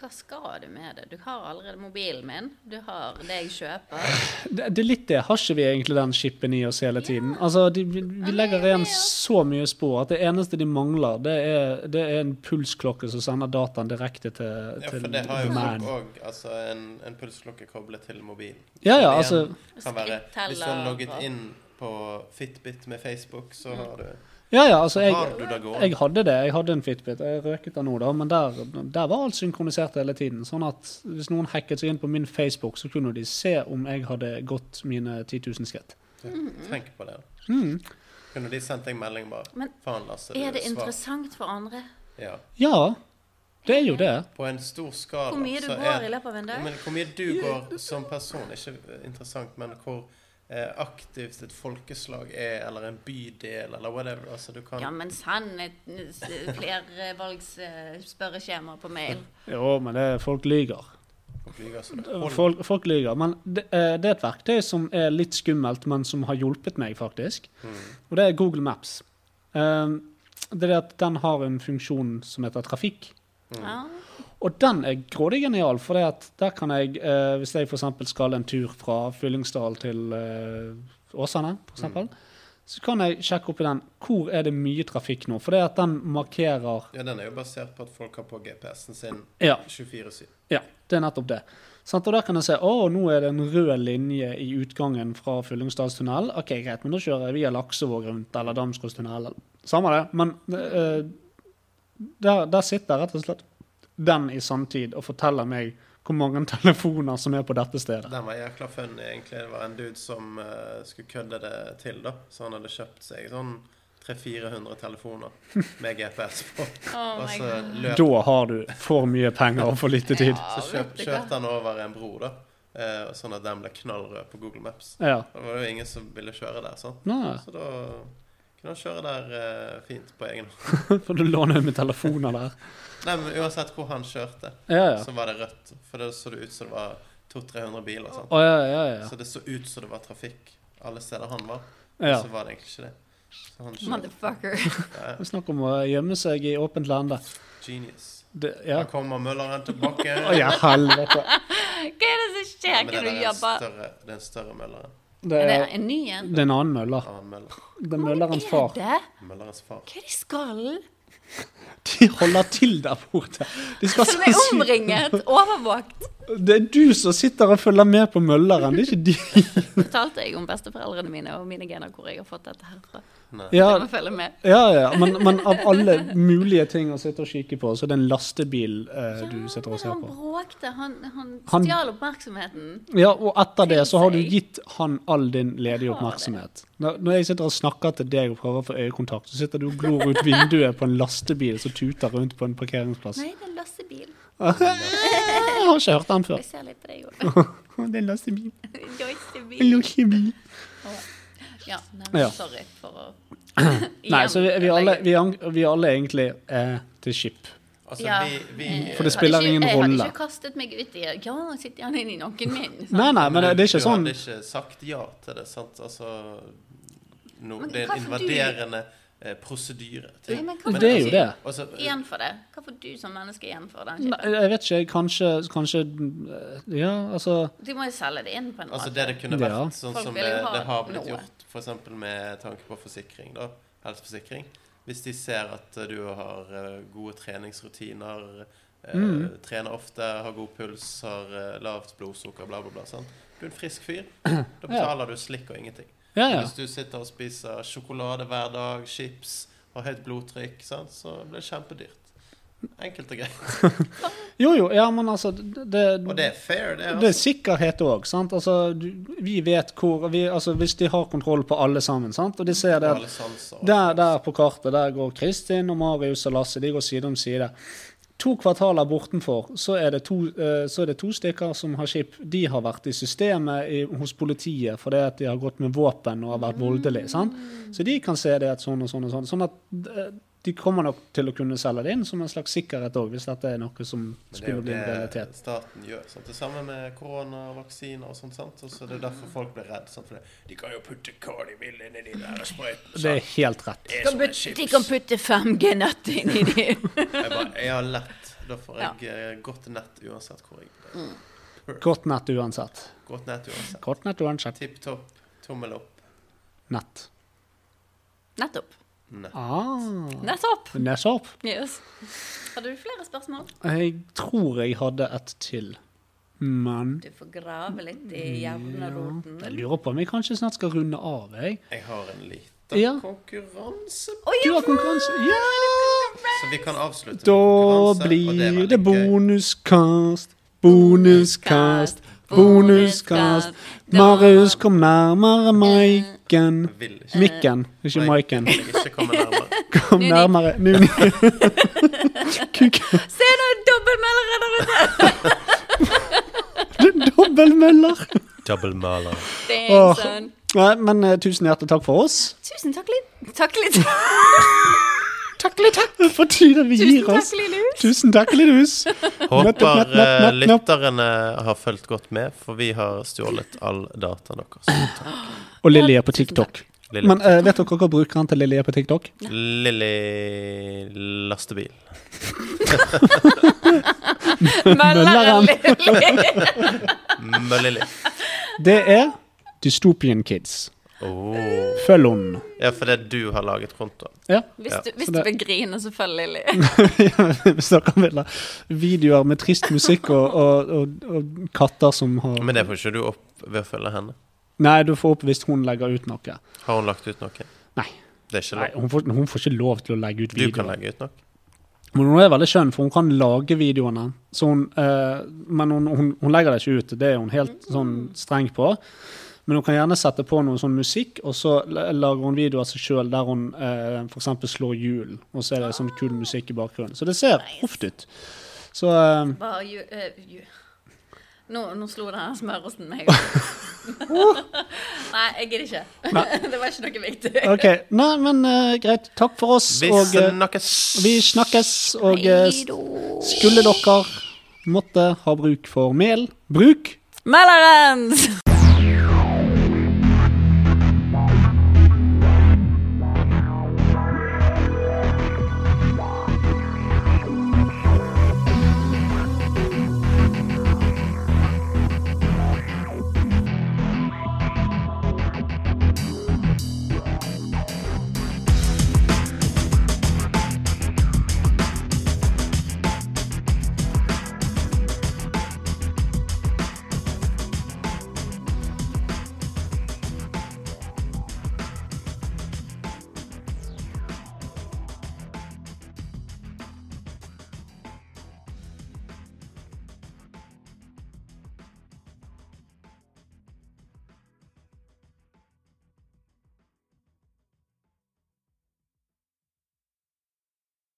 S3: Hva skal du med det? Du har allerede mobilen min. Du har det jeg kjøper.
S2: Det, det er litt det. Har ikke vi egentlig den skippen i oss hele tiden? Altså, de, vi, vi legger igjen så mye spor at det eneste de mangler, det er, det er en pulsklokke som sender dataen direkte til,
S4: Ja,
S2: til
S4: for det har jo
S2: til
S4: folk
S2: man.
S4: òg. Altså en, en pulsklokke koblet til mobilen.
S2: Ja, ja,
S4: Som
S2: altså,
S4: igjen kan være, Hvis du har logget
S3: Skritteller og-
S4: inn på Fitbit med Facebook, så har du,
S2: ja, ja, altså jeg,
S4: har du det gående.
S2: jeg hadde det. Jeg hadde en Fitbit. Jeg røket den nå, da, men der, der var alt synkronisert hele tiden. Sånn at hvis noen hacket seg inn på min Facebook, så kunne de se om jeg hadde gått mine 10 000 skritt.
S4: Tenk på det.
S2: Mm.
S4: Kunne de sendt deg melding bare?
S3: Men
S4: Faen, Lasse, du
S3: Er det
S4: svak.
S3: interessant for andre
S4: Ja.
S2: Ja, det er jo det.
S4: På en stor skala
S3: hvor mye du
S4: så
S3: går
S4: er
S3: i løpet av en
S4: Ja,
S3: dag?
S4: Men hvor mye du går som person, er ikke interessant, men hvor eh, aktivt et folkeslag er, eller en bydel, eller whatever. Altså, du kan
S3: Ja, men send et flervalgsspørreskjema på mail.
S2: Jo, men det, folk lyver.
S4: lyve så det holder.
S2: Folk, folk lyver. Men det, eh, det er et verktøy som er litt skummelt, men som har hjulpet meg, faktisk.
S4: Mm.
S2: Og det er Google Maps. Eh, det er det at den har en funksjon som heter trafikk.
S4: Mm.
S3: Ja.
S2: Og den er grådig genial, for det at der kan jeg, eh, hvis jeg f.eks. skal en tur fra Fyllingsdal til eh, Åsane, f.eks., eksempel, så kan jeg sjekke opp i den hvor er det mye trafikk nå. For det at den markerer
S4: Ja, den er jo basert på at folk har på GPS-en sin
S2: Ja.
S4: 24-7.
S2: Ja, det er nettopp det. Sant? og der kan jeg se å, nå er det en rød linje i utgangen fra Fyllingsdalstunnel. Ok, greit, men da kjører jeg via Laksevåg rundt, eller Damsgårdstunnel. eller- Samme det, men eh, der, der sitter rett og slett den i sanntid og forteller meg hvor mange telefoner som er på dette stedet.
S4: Den var jækla fun, egentlig. Det var en dude som eh, skulle kødde det til, da. Så han hadde kjøpt seg sånn 300-400 telefoner med GPS på.
S3: Oh
S4: Og
S3: my
S4: så
S3: god.
S4: løp
S2: Da har du for mye penger og for lite tid.
S3: Ja,
S4: Så kjøp,
S3: vet du hva?
S4: kjørte han over en bro, da. eh, sånn at den ble knallrød på Google Maps.
S2: Ja.
S4: Det var jo ingen som ville kjøre der, sant?
S2: Nei,
S4: Så da kunne han kjøre der eh, fint på egen hånd.
S2: for du låner jo med telefoner der.
S4: Nei, men uansett hvor han kjørte,
S2: Ja, ja.
S4: så var det rødt. For da så det ut som det var 200-300 biler. Sant?
S2: Å, ja, ja, ja.
S4: Så det så ut som det var trafikk alle steder han var.
S2: ja.
S4: Så var det egentlig ikke det. Så han kjørte.
S3: Motherfucker.
S4: Ja, ja.
S2: Snakk om å gjemme seg i åpent lende.
S4: genius.
S2: Det,
S4: Da
S2: ja.
S4: kommer mølleren tilbake.
S2: Å, ja, helvete.
S3: Hva er det som skjer?
S4: Men
S3: Hva
S4: det
S3: er det
S4: der er
S3: du
S4: en
S3: jobber?
S4: større, det er en større møller.
S2: Det
S3: Er det
S2: er,
S3: en ny en?
S2: det er en annen møller.
S4: Annen møller.
S2: Det er møllerens
S3: Hvor
S2: far.
S3: er det?
S4: Møllerens far.
S3: Hva er det de skal?
S2: De holder til der borte. De skal
S3: Som er
S2: så sykt-
S3: omringet, overvåkt.
S2: Det er du som sitter og følger med på mølleren, det er ikke de.
S3: Fortalte jeg om besteforeldrene mine og mine gener hvor jeg har fått dette her fra.
S4: Nei.
S2: Ja,
S3: Jeg må følge med.
S2: ja, ja. Men, men av alle mulige ting å sitte og kikke på, så er det en lastebil eh, du sitter og
S3: Ja,
S2: ser
S3: men
S2: på.
S3: Han bråkte. Han, han
S2: Han-
S3: stjal oppmerksomheten.
S2: Ja, og etter det så har du
S3: Sinnssykt.
S2: gitt han all din ledige oppmerksomhet. Når når jeg sitter og snakker til deg og prøver å få øyekontakt, så sitter du og glor ut vinduet på en lastebil som tuter rundt på en parkeringsplass.
S3: Nei, det er en lastebil.
S2: Jeg har ikke hørt den før.
S3: Jeg ser litt på deg òg.
S2: Det er en lastebil. En
S3: Lastebil.
S2: lastebil.
S3: Ja, nei,
S2: Ja.
S3: men sorry for å
S2: Nei,
S3: Igjen,
S2: så vi, vi,
S3: ødelegge.
S2: alle, vi, ang- vi alle egentlig er til skip.
S4: Altså,
S3: Ja. Mm.
S4: vi, vi,
S2: For det spiller
S3: Hadde ikke-
S2: ingen
S3: Jeg
S2: rolle.
S3: hadde ikke kastet meg uti Ja, sitter han inni noen min?
S2: Nei, nei, men det er ikke
S4: du
S2: sånn
S4: Du hadde ikke sagt ja til det, sant? Altså no,
S3: Men
S4: Det er
S3: hva
S4: en
S3: for
S4: invaderende eh, prosedyre. til-
S3: Ja, men hva for
S2: Det er jo
S3: du-
S2: det.
S4: altså,
S3: Sånn. Igjen for det. Hva får du som menneske igjen for den?
S2: Nei, jeg vet ikke, kanskje, kanskje Ja, altså
S3: Du må jo selge det inn på en
S4: altså
S3: måte.
S4: det det kunne vært
S2: Ja.
S4: sånn
S3: Folk
S4: som
S3: vil
S4: det,
S3: ha
S4: det har blitt
S3: noe.
S4: gjort, for eksempel med tanke på forsikring, da. Helseforsikring. Hvis de ser at eh, du har eh, gode
S2: Mm.
S4: treningsrutiner, eh, trener ofte, har god puls, har eh, lavt blodsukker, bla, bla, bla. Sant? Du Du er en frisk fyr. Da betaler du slikk og ingenting.
S2: Ja, ja.
S4: Hvis du sitter og spiser sjokolade hver dag, chips, har høyt blodtrykk, sant? så blir det kjempedyrt. Enkelt og greit.
S2: Jo, jo. Ja, men altså Det, det,
S4: Og det er fair, det.
S2: det er
S4: Altså.
S2: sikkerhet òg, sant. Altså, du, vi vet hvor vi, altså, Hvis de har kontroll på alle sammen, sant, og de ser det at
S4: Alle sanser. og
S2: Der,
S4: alt.
S2: der på kartet der går Kristin og Marius og Lasse. De går side om side. To kvartaler bortenfor så er det to, eh, så er det to stykker som har skip. De har vært i systemet i, hos politiet fordi at de har gått med våpen og har vært voldelige. Sant? Så de kan se det at sånn og sånn og sånn. Sånn at eh, de kommer nok til å kunne selge det inn som en slags sikkerhet òg, hvis dette er noe som
S4: Men det er
S2: skulle
S4: jo
S2: bli en
S4: det
S2: realitet.
S4: staten gjør. Sant? Det samme med korona og vaksiner og sånt. sant? Og så det er derfor folk blir redde. Sant? For det, de kan jo putte hva de vil inn i de der sprøytene.
S2: Det er
S4: sant?
S2: helt rett.
S4: Det er
S3: Kan
S4: som
S3: putte,
S4: en
S3: de
S4: chips.
S3: kan putte 5G-nett inn i de.
S4: Jeg, bare, jeg har lett. Da får jeg eh, godt nett uansett hvor jeg
S3: Mm.
S4: blir.
S2: Godt nett uansett.
S4: Godt nett uansett.
S2: Godt nett uansett.
S4: Tipp topp. Tommel opp.
S2: Nett.
S3: Nettopp.
S4: Nett.
S2: Ah.
S3: Nettopp.
S2: Nettopp.
S3: Yes. Hadde du flere spørsmål?
S2: Jeg tror jeg hadde et til. Men
S3: Du får grave litt i hjerneroten.
S2: jeg lurer på om jeg kanskje snart skal runde av. Jeg.
S4: Jeg har en liten
S2: Ja.
S4: konkurranse,
S2: Du har konkurranse. Ja!
S4: så vi kan avslutte. med
S2: Da
S4: konkurranse, og var
S2: blir
S4: litt
S2: det
S4: gøy.
S2: bonuskast, bonuskast, bonuskast. Marius kom nærmere mikken.
S4: Jeg vil ikke.
S2: Mikken, ikke mikken.
S4: Jeg vil ikke komme nærmere.
S2: Kom nærmere. Nuni. Kuk.
S3: Se, det er dobbeltmeldere der ute!
S2: Det er Dobbeltmøller.
S4: Double maler.
S3: Det er
S2: Åh.
S3: en sånn.
S2: Nei, men eh, tusen hjertelig takk for oss.
S3: Tusen takk, Linn. Takk, Linn.
S2: Takk, takk. For tiden vi
S3: Tusen
S2: gir
S3: takk,
S2: oss.
S3: Lillehus.
S2: Tusen takk, Lillehus.
S4: Håper
S2: Nettopp, nettopp,
S4: eh,
S2: nettopp.
S4: lytterne har fulgt godt med, for vi har stjålet all dataen deres.
S2: Og Lilly er på TikTok.
S4: Lille,
S2: Men eh, vet dere hva brukeren til Lilly er på TikTok?
S4: Lilly lastebil.
S3: Mølleren.
S4: Møllili.
S2: Det er Dystopian Kids.
S4: Oh.
S2: Følg henne.
S4: Ja, fordi du har laget konto.
S2: Ja,
S3: Hvis du, hvis
S2: Så
S3: du
S2: det-
S3: vil grine, så følg Lilly.
S2: hvis dere vil ha videoer med trist musikk og, og, og, og katter som har
S4: Men det får ikke du opp ved å følge henne.
S2: Nei, du får opp hvis hun legger ut noe.
S4: Har hun lagt ut noe?
S2: Nei.
S4: Det er ikke
S2: Nei
S4: lov.
S2: hun, får, hun får ikke lov til å legge ut
S4: Du kan
S2: videoer.
S4: legge ut noe.
S2: Men hun er veldig skjønn, for hun kan lage videoene. Så hun, eh, men hun, hun, hun legger det ikke ut. Det er hun helt sånn streng på. Men hun kan gjerne sette på noe sånn musikk, og så la- lager hun video av seg sjøl der hun eh, f.eks. slår hjul, og så er det sånn kul musikk i bakgrunnen. Så det ser proft ut. Så eh,
S3: Bare ju, eh, ju. Nå, nå slo den her smørosten meg. Nei, jeg gidder ikke. det var ikke noe viktig.
S2: OK. Nei, men eh, greit. Takk for oss,
S4: Vi
S2: og eh,
S4: snakkes.
S2: vi snakkes. Og eh, s- skulle dere måtte ha bruk for mel, bruk
S3: Møllerens!